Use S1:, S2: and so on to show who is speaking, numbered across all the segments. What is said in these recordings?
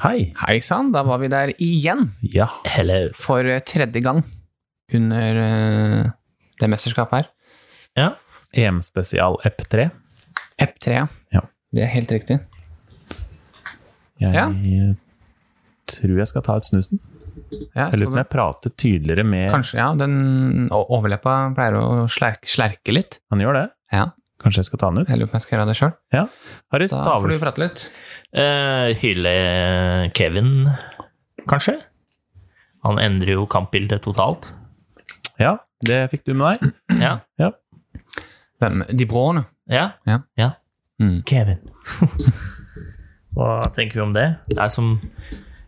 S1: Hei.
S2: Hei sann, da var vi der igjen
S1: Ja, hello.
S2: for eh, tredje gang under eh, det mesterskapet her.
S1: Ja. EM-spesial E EP3.
S2: EP3, ja.
S1: Ja.
S2: Det er helt riktig.
S1: Jeg
S2: Ja.
S1: eh, tror jeg skal ta ut snusen.
S2: Ja,
S1: Jeg lurer på om
S2: tror du-
S1: jeg prater tydeligere med
S2: Kanskje, ja. Den o- overleppa pleier å slerke, slerke litt.
S1: Han gjør det?
S2: Ja,
S1: Kanskje jeg skal ta den ut?
S2: jeg lurer på om jeg skal gjøre det sjøl.
S1: Ja. Harris,
S2: Da
S1: ta
S2: får
S1: over.
S2: du prate litt.
S3: Eh, hylle eh, Kevin, kanskje? Han endrer jo kampbildet totalt.
S1: Ja, det fikk du med deg.
S3: Ja,
S1: Ja.
S2: Hvem? De Bruyne.
S3: ja,
S2: Ja.
S3: ja.
S2: Mm.
S3: Kevin. Hva tenker vi om det? Det er som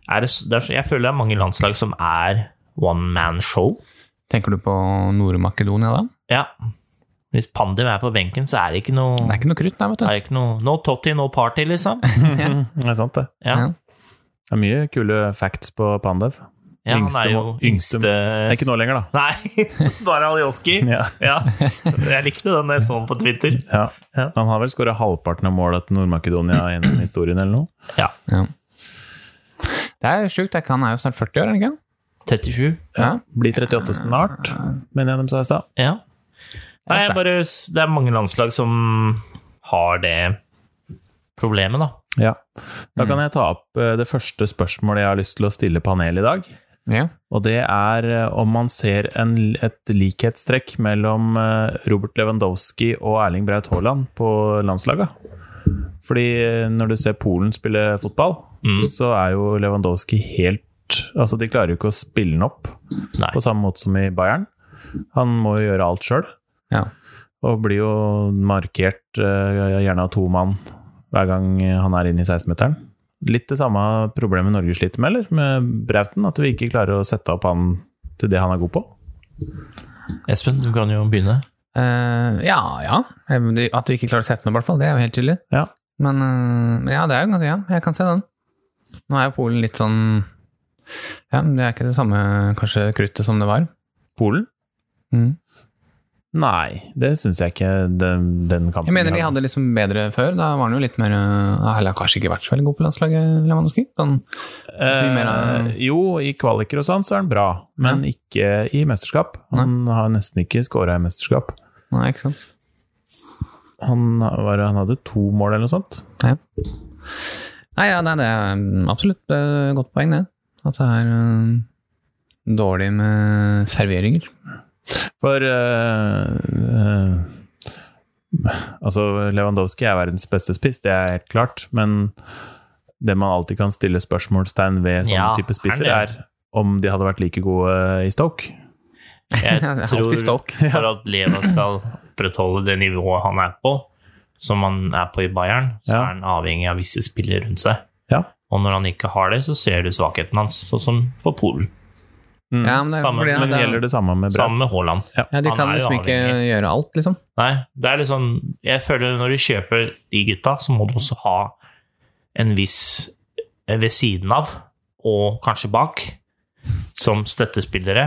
S3: er det, s- det er, s- Jeg føler det er mange landslag som er one man show.
S2: Tenker du på Nord-Makedonia da?
S3: Ja. Hvis Pandem er på benken, så er det ikke noe,
S2: Det er ikke noe krutt der, vet
S3: det
S2: du.
S3: er ikke noe No Totti, no party, liksom.
S1: Det er sant, det.
S3: Ja,
S1: Det er mye kule facts på Pandev.
S3: ja han
S1: Yngste
S3: er jo
S1: må- yngste- Det er
S3: yngste
S1: ikke nå lenger, da.
S3: Nei, bare Aljoski.
S1: Ja.
S3: Ja. Jeg likte den jeg så den på Twitter.
S1: Ja.
S3: Ja.
S1: Han har vel skåra halvparten av målet til Nord-Makedonia gjennom historien, eller noe?
S3: Ja.
S2: Ja. Det er sjukt, det er ikke- han er jo snart 40 år, er det ikke?
S3: 37.
S2: Ja.
S1: Blir 38 snart, mener jeg de sa i stad.
S3: Ja. Nei,
S2: Det er
S3: jeg bare, det er mange landslag som har det problemet, da.
S1: Ja. Da kan jeg ta opp eh, det første spørsmålet jeg har lyst til å stille panelet i dag.
S2: Ja.
S1: Og det er eh, om man ser en, et likhetstrekk mellom eh, Robert Lewandowski og Erling Braut Haaland på landslaga. Fordi eh, når du ser Polen spille fotball,
S3: Mm.
S1: så er jo Lewandowski helt Altså, de klarer jo ikke å spille den opp
S3: Nei.
S1: på samme måte som i Bayern. Han må jo gjøre alt sjøl,
S2: ja.
S1: og blir jo markert eh, gjerne av to mann hver gang han er inne i 16-meteren. Litt det samme problemet Norge sliter med, eller? Med Brauten. At vi ikke klarer å sette opp han til det han er god på.
S3: Espen, du kan jo begynne.
S2: Eh, ja, ja. Eh, At du ikke klarer å sette den opp, i hvert fall. Det er jo helt tydelig.
S1: Ja.
S2: Men eh, men ja, det er jo ganske Ja, jeg kan se den. Nå er jo Polen litt sånn Ja, men det er ikke det samme kanskje kruttet som det var.
S1: Polen?
S2: Mm.
S1: Nei, det syns jeg ikke den, den kampen
S2: Jeg mener de hadde liksom bedre før. Da var han jo litt mer eh, Eller har kanskje ikke vært så veldig god på landslaget, Lewandowski. Sånn, mye mer av-
S1: eh, Jo, i kvaliker og sånn så er han bra, men ikke i mesterskap. Han har nesten ikke scora i mesterskap.
S2: nei, ikke sant.
S1: Han, var, han hadde to mål eller noe sånt.
S2: Nei, ja, nei, det er mm, absolutt eh, et godt poeng, det. At det er eh, dårlig med serveringer.
S1: For eh, eh, Altså, Lewandowski er verdens beste spiss, det er helt klart. Men det man alltid kan stille spørsmålstegn ved sånne
S3: Ja,
S1: type spisser,
S3: er
S1: er,
S3: det?
S1: om de hadde vært like gode eh, i Stoke.
S3: Jeg
S2: Alltid Stoke.
S3: for at Leva skal opprettholde det nivået han er på, som han er på i Bayern, så
S1: Ja.
S3: er han avhengig av visse spillere rundt seg.
S1: Ja.
S3: Og når han ikke har det, så ser du svakheten hans, sånn som for Polen.
S1: Mm.
S2: Ja, men det er
S3: Samme-
S2: fordi,
S3: men
S2: at
S1: men
S2: det er-
S1: gjelder det samme med Braut?
S3: Sammen med Haaland.
S2: Ja, de
S3: Han
S2: kan
S3: er jo
S2: liksom ikke
S3: avhengig.
S2: gjøre alt, liksom.
S3: Nei, det er litt sånn Jeg føler når du kjøper de gutta, så må du også ha en viss eh, ved siden av, og kanskje bak, som støttespillere.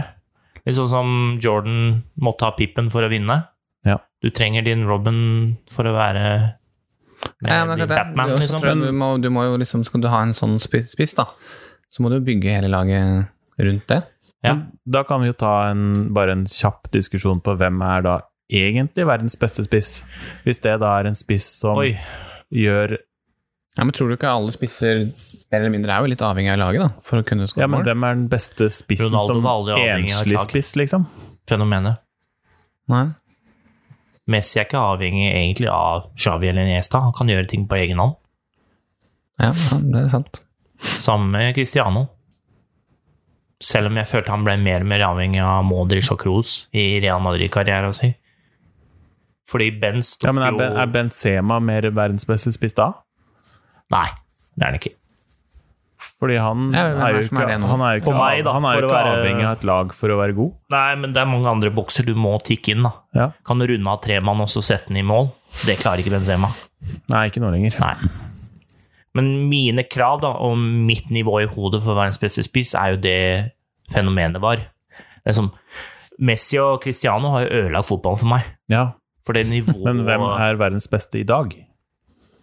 S3: Litt sånn som Jordan måtte ha pippen for å vinne.
S1: Ja.
S3: Du trenger din Robin for å være eh,
S2: Ja, men akkurat
S3: din
S2: det.
S3: Batman,
S2: Det er også,
S3: liksom.
S2: tror jeg, du, må, du må jo liksom, Skal du ha en sånn spi- spiss, da, så må du bygge hele laget rundt det.
S3: Ja.
S1: Men Mm. Da kan vi jo ta en, bare en kjapp diskusjon på hvem er da egentlig verdens beste spiss. Hvis det da er en spiss som
S3: Oi.
S1: gjør
S2: Ja, Men tror du ikke alle spisser mer eller mindre er jo litt avhengig av laget, da, for å kunne
S1: Ja,
S2: skåre
S1: men
S2: mål?
S1: hvem er den beste spissen
S3: Ronaldo
S1: som
S3: var aldri avhengig av et
S1: enslig
S3: lag.
S1: spiss, liksom?
S3: Fenomenet.
S2: Nei.
S3: Messi er ikke avhengig egentlig av Xavi eller Niesta. Han kan gjøre ting på egen hånd.
S2: Ja, ja, det er sant.
S3: Sammen med Cristiano. Selv om jeg følte han ble mer og mer avhengig av Modric og Kroos i Real Madrid-karrieren sin. Fordi Benz tok
S1: Ja, men er,
S3: jo
S1: ben, er Benzema mer verdens beste spiss da?
S3: Nei, det er han ikke.
S1: Fordi han
S2: Ja, hvem er
S1: er jo
S2: det som
S1: ikke,
S2: er det nå?
S1: han er jo ikke,
S3: For meg, da,
S1: han er jo
S3: for å
S1: ikke
S3: være-
S1: avhengig av et lag for å være god.
S3: Nei, men det er mange andre bokser du må tikke inn, da.
S1: Ja.
S3: Kan du runde av tremann og så sette den i mål? Det klarer ikke Benzema.
S1: Nei, ikke nå lenger.
S3: Nei. Men mine krav da, og mitt nivå i hodet for verdens beste spiss er jo det fenomenet var. Det er som, Messi og Cristiano har jo ødelagt fotballen for meg.
S1: Ja.
S3: For det nivået
S1: Men hvem er verdens beste i dag?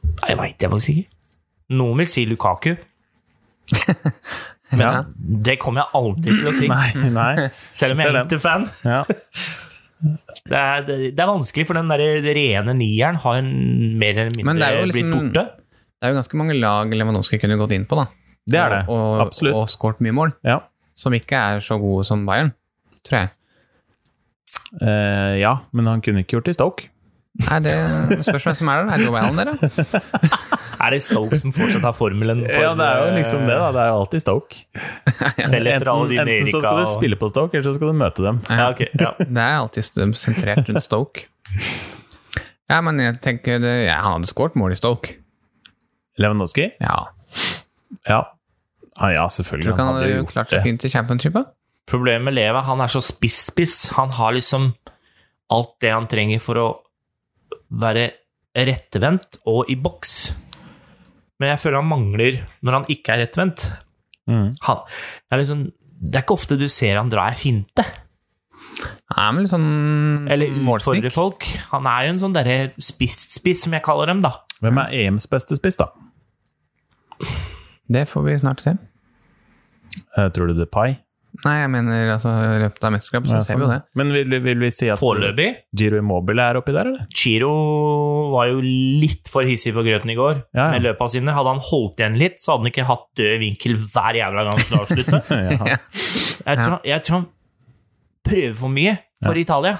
S3: Nei, Jeg veit jeg faktisk ikke. Noen vil si Lukaku. Men
S1: Ja.
S3: det kommer jeg aldri til å si,
S1: Nei, nei.
S3: selv om jeg
S1: Selv
S3: er
S1: om-
S3: Inter-fan.
S1: Ja.
S3: Det er, det det er vanskelig, for den der rene nieren har en mer
S2: Men
S3: eller
S2: det
S3: mindre
S2: er jo
S3: blitt
S2: liksom-
S3: borte.
S2: Det er jo ganske mange lag Lewandowski kunne gått inn på, da.
S1: Det er det.
S2: Og, og,
S1: Absolutt.
S2: og skåret mye mål.
S1: Ja.
S2: Som ikke er så gode som Bayern, tror jeg.
S1: Eh, ja, men han kunne ikke gjort det i Stoke.
S2: Nei, det spørs hvem som er der. Er det Joe Allen, dere?
S3: Er det Stoke som fortsatt har formelen? For, eh,
S1: Ja, det er jo liksom det, da. Det er jo alltid Stoke.
S3: Selv etter alle
S1: Enten,
S3: de
S1: enten så skal du
S3: og-
S1: spille på Stoke, eller så skal du møte dem.
S3: Ja, ok, ja.
S2: Det er alltid st- sentrert rundt Stoke. Ja, men jeg tenker det, ja, Han hadde skåret mål i Stoke.
S1: Lewandowski?
S2: Ja.
S1: Ja. Ah, ja, selvfølgelig.
S2: Tror du ikke
S1: Han
S2: han
S1: hadde jo
S2: hadde
S1: gjort
S2: klart seg
S1: det.
S2: fint i championshipet?
S3: Problemet med Leva, han er så spiss-spiss. Han har liksom alt det han trenger for å være rettvendt og i boks. Men jeg føler han mangler når han ikke er rettvendt.
S1: Mm.
S3: Han, det, er liksom, det er ikke ofte du ser han dra ei finte,
S2: Han er vel litt sånn
S1: Mm.
S3: eller utfordre
S2: målsnitt.
S3: folk. Han er jo en sånn derre spiss-spiss, som jeg kaller dem, da.
S1: Hvem er EMs beste spiss, da?
S2: Det får vi snart se.
S1: Eh, tror du det er Pai?
S2: Nei, jeg mener altså i løpet av mesterskapet, så ser vi jo det.
S1: Men vil, vil vi si at
S3: Foreløpig.
S1: Giro Immobile er oppi der, eller?
S3: Chiro var jo litt for hissig på grøten i går
S1: Ja, ja.
S3: med løpa sine. Hadde han holdt igjen litt, så hadde han ikke hatt død vinkel hver jævla gang han skulle avslutte.
S1: ja.
S3: Jeg tror, jeg tror han prøver for mye for Italia.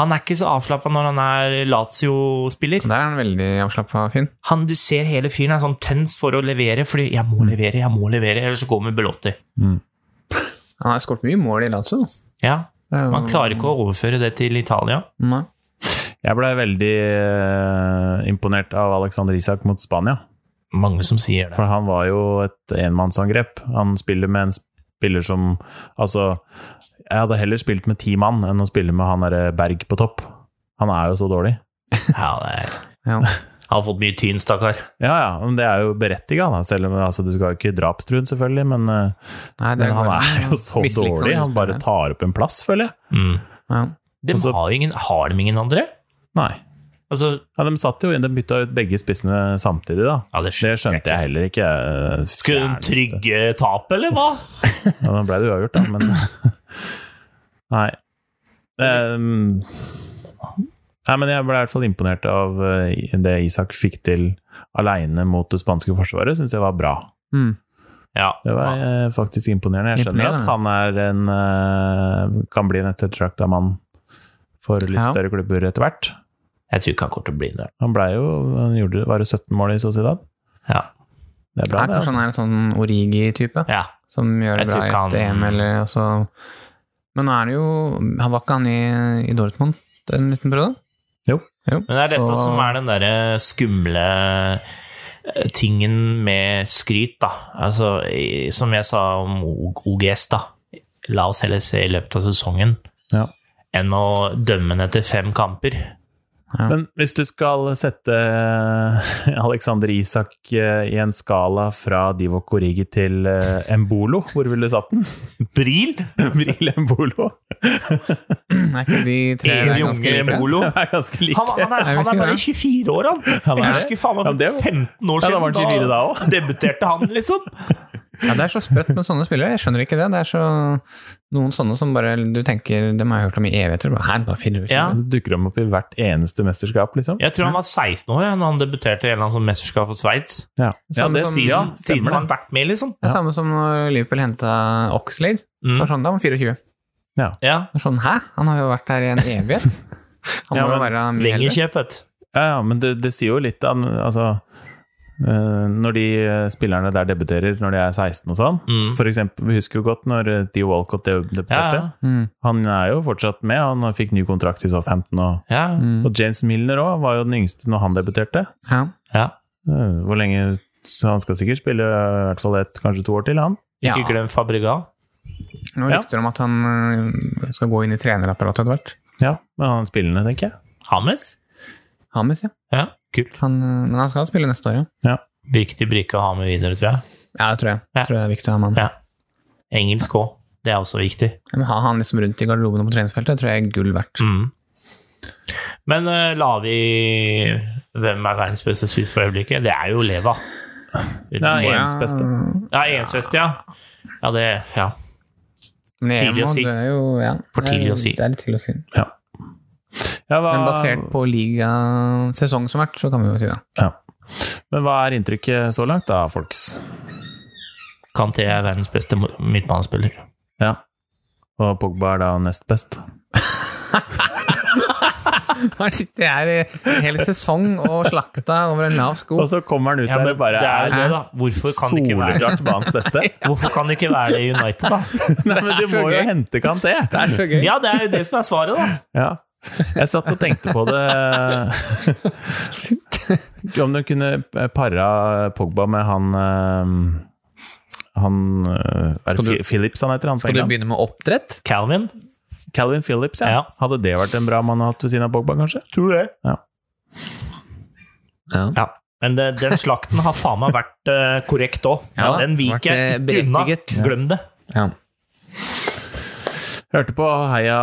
S3: Han er ikke så avslappa når han er Lazio-spiller.
S2: Der er han veldig avslappa, Finn.
S3: Han du ser hele fyren er sånn tens for å levere, fordi 'jeg
S1: Mm.
S3: må levere, jeg må levere', eller så går vi med Belotti.
S2: Han har skåret mye mål i Lazio.
S3: Ja,
S2: Det er jo-
S3: Man klarer ikke å overføre det til Italia.
S2: Nei.
S1: Jeg ble veldig eh, imponert av Alexander Isak mot Spania.
S3: Mange som sier det.
S1: For han var jo et enmannsangrep. Han spiller med en spiller som Altså, jeg hadde heller spilt med ti mann enn å spille med han derre Berg på topp. Han er jo så dårlig.
S3: Ja, det er.
S2: Ja.
S3: Han har fått mye tyn, stakkar.
S1: Ja ja, men det er jo berettiga, da. Selv om altså, du skal jo ikke drapstrud, selvfølgelig, men, eh,
S2: Nei, det
S1: men han
S2: går
S1: er
S2: an.
S1: jo så
S2: Misliker han
S1: dårlig. Han
S2: litt,
S1: bare
S2: men-
S1: tar opp en plass, føler jeg.
S3: Mm.
S2: ja.
S3: De
S1: Og så-
S3: har, ingen, har de ingen andre?
S1: Nei.
S3: Altså,
S1: Ja, de satt jo inn, de bytta ut begge spissene samtidig, da.
S3: ja, det
S1: Det skjønte jeg heller ikke. eh,
S3: Skulle hun
S1: fjerneste.
S3: trygge tapet, eller hva?
S1: Ja, nå ble det uavgjort, da, men Nei. Ehm, nei, men jeg ble i hvert fall imponert av eh, det Isak fikk til aleine mot det spanske forsvaret. Syns jeg var bra.
S2: Mm.
S3: Ja.
S1: Det var eh, faktisk imponerende. Jeg skjønner at han er en eh, kan bli en ettertrakta mann for litt
S2: Ja.
S1: større klubber etter hvert.
S3: Jeg tror ikke han kommer til å bli det.
S1: Han blei jo han gjorde, Var det 17 mål i Sociedad?
S3: Ja.
S1: Det er bra,
S2: Ja,
S1: det.
S2: kanskje
S1: Altså.
S2: han er en sånn Origi-type
S3: ja.
S2: som gjør det
S3: Jeg
S2: bra
S3: tror
S2: i et
S3: ikke han-
S2: EM eller og så Men nå er det jo Han var ikke han i, i Dortmund en liten periode?
S1: Jo.
S3: Men det er dette
S2: Så-
S3: som er den derre skumle eh, tingen med skryt, da. Altså, i- som jeg sa om O- OGS, da. La oss heller se i løpet av sesongen
S1: Ja.
S3: enn å dømme den etter fem kamper.
S1: Men hvis du skal sette eh, Alexander Isak eh, i en skala fra Divok Origi til eh, Embolo, hvor ville du satt den?
S3: Bril?
S1: Vril Embolo?
S2: Er ikke de tre
S3: Evig
S2: der ganske
S3: unge
S2: like?
S3: Embolo?
S1: Det er ganske like.
S3: Han, han,
S2: Jeg
S3: er,
S2: vil
S3: han
S2: si
S3: er bare
S2: det.
S3: 24 år, han.
S1: Han er
S3: Jeg
S1: det.
S3: husker faen meg
S1: Ja, det
S3: for
S1: var-
S3: 15 år
S1: Ja, da
S3: siden.
S1: var han 24 da også.
S3: debuterte han, liksom.
S2: Ja, det er så sprøtt med sånne spillere. Jeg skjønner ikke det. Det er så noen sånne som bare du tenker Dem har jeg hørt om i evigheter. Bare, Her, bare finner du ut.
S3: Ja.
S1: Så dukker de opp i hvert eneste mesterskap, liksom.
S3: Jeg tror han var 16 år ja, når han debuterte i en eller annen sånn mesterskap for Sveits.
S1: Ja, sånn ja
S2: Samme
S1: det
S2: som-
S1: sier
S3: Siden,
S1: ja,
S3: siden
S1: stemmer
S3: har
S1: det.
S3: han vært med, liksom.
S2: Det er samme som når Liverpool henta Oxlade.
S3: Mm.
S2: Så var det sånn, da var han 24.
S3: Ja.
S2: Det er Sånn, Hæ? Han har jo vært der i en evighet. Han
S1: Ja,
S2: må jo
S1: men
S2: være mye
S3: Lenger
S2: eldre.
S3: kjøp, vet du.
S1: Ja, ja, men det, det sier jo litt da, altså eh, når de eh, spillerne der debuterer når de er 16 og sånn
S3: Mm.
S1: For eksempel, Vi husker jo godt når eh, Theo Walcott deb-
S3: Ja,
S1: debuterte.
S3: ja.
S2: Mm.
S1: Han er jo fortsatt med. Han fikk ny kontrakt i Southampton og
S3: ja.
S2: Mm.
S1: Og James Milner òg var jo den yngste når han debuterte.
S2: Ja.
S3: ja.
S1: Eh, Hvor lenge Så han skal sikkert spille eh, i hvert fall ett, kanskje to år til, han.
S2: ja.
S3: Ikke glem Fabrega.
S2: Nå
S1: Ja.
S2: rykter det om at han øh, skal gå inn i trenerapparatet etter hvert.
S1: Ja, Men han spillende, tenker jeg.
S3: Hames.
S2: Hames, ja.
S3: Ja, kult.
S2: Han, øh, men han skal spille neste år, ja.
S3: Viktig brikke å ha med videre, tror jeg.
S2: Ja, det tror jeg.
S3: Ja.
S2: Tror jeg er viktig å ha med han.
S3: Ja. Engelsk òg. Det er også viktig.
S2: Men ha han liksom rundt i garderoben og på treningsfeltet, tror jeg er gull verdt.
S3: Mm. Men eh, la vi Hvem er verdens beste spiss for øyeblikket? Det er jo Leva. Uten
S1: Ja,
S3: mål.
S1: ens beste.
S3: Ja, ens beste, ja. Ja, det Ja.
S2: Men EM,
S3: Tidlig å si.
S2: Det er jo, ja,
S3: For
S2: det er-
S3: tidlig å si. Ah.
S2: Det er litt tidlig å si.
S1: Ja, hva,
S2: Men basert på liga sesongen som har vært, så kan vi jo si det.
S1: ja. Men hva er inntrykket så langt, da, folks?
S3: Kanté er verdens beste mo- midtbanespiller.
S1: Ja. Og Pogba er da nest best.
S2: Her sitter jeg her i hele eh, sesong og slakta over en lav sko.
S1: Og så kommer han ut
S3: Ja,
S1: der
S3: men
S1: og bare
S3: det er jo
S1: er
S3: det, da. Hvorfor kan det ikke være
S1: soleklart banens beste.
S3: Hvorfor kan det ikke være det i United, da?
S1: Nei, men du
S2: så
S1: må jo
S2: gøy.
S1: hente Kanté!
S2: Det er så gøy.
S3: Ja, det er jo det som er svaret, da.
S1: Ja. Jeg satt og tenkte på eh, det Om du kunne para Pogba med han eh, Han eh, Er det
S2: Skal du-
S1: Fi- Phillips han heter? Han på
S2: Skal du
S1: England?
S2: begynne med oppdrett?
S3: Calvin.
S1: Calvin Phillips, ja.
S3: Ja.
S1: Hadde det vært en bra mann å ha hatt ved siden av Pogba, kanskje?
S3: Tror det.
S2: Ja.
S3: Ja. Men det, den slakten har faen meg vært eh, korrekt òg.
S2: Ja,
S3: den
S2: vært,
S3: viker
S2: eh,
S3: jeg ikke unna.
S2: berettiget.
S3: Glem det.
S2: Ja.
S1: Hørte på Heia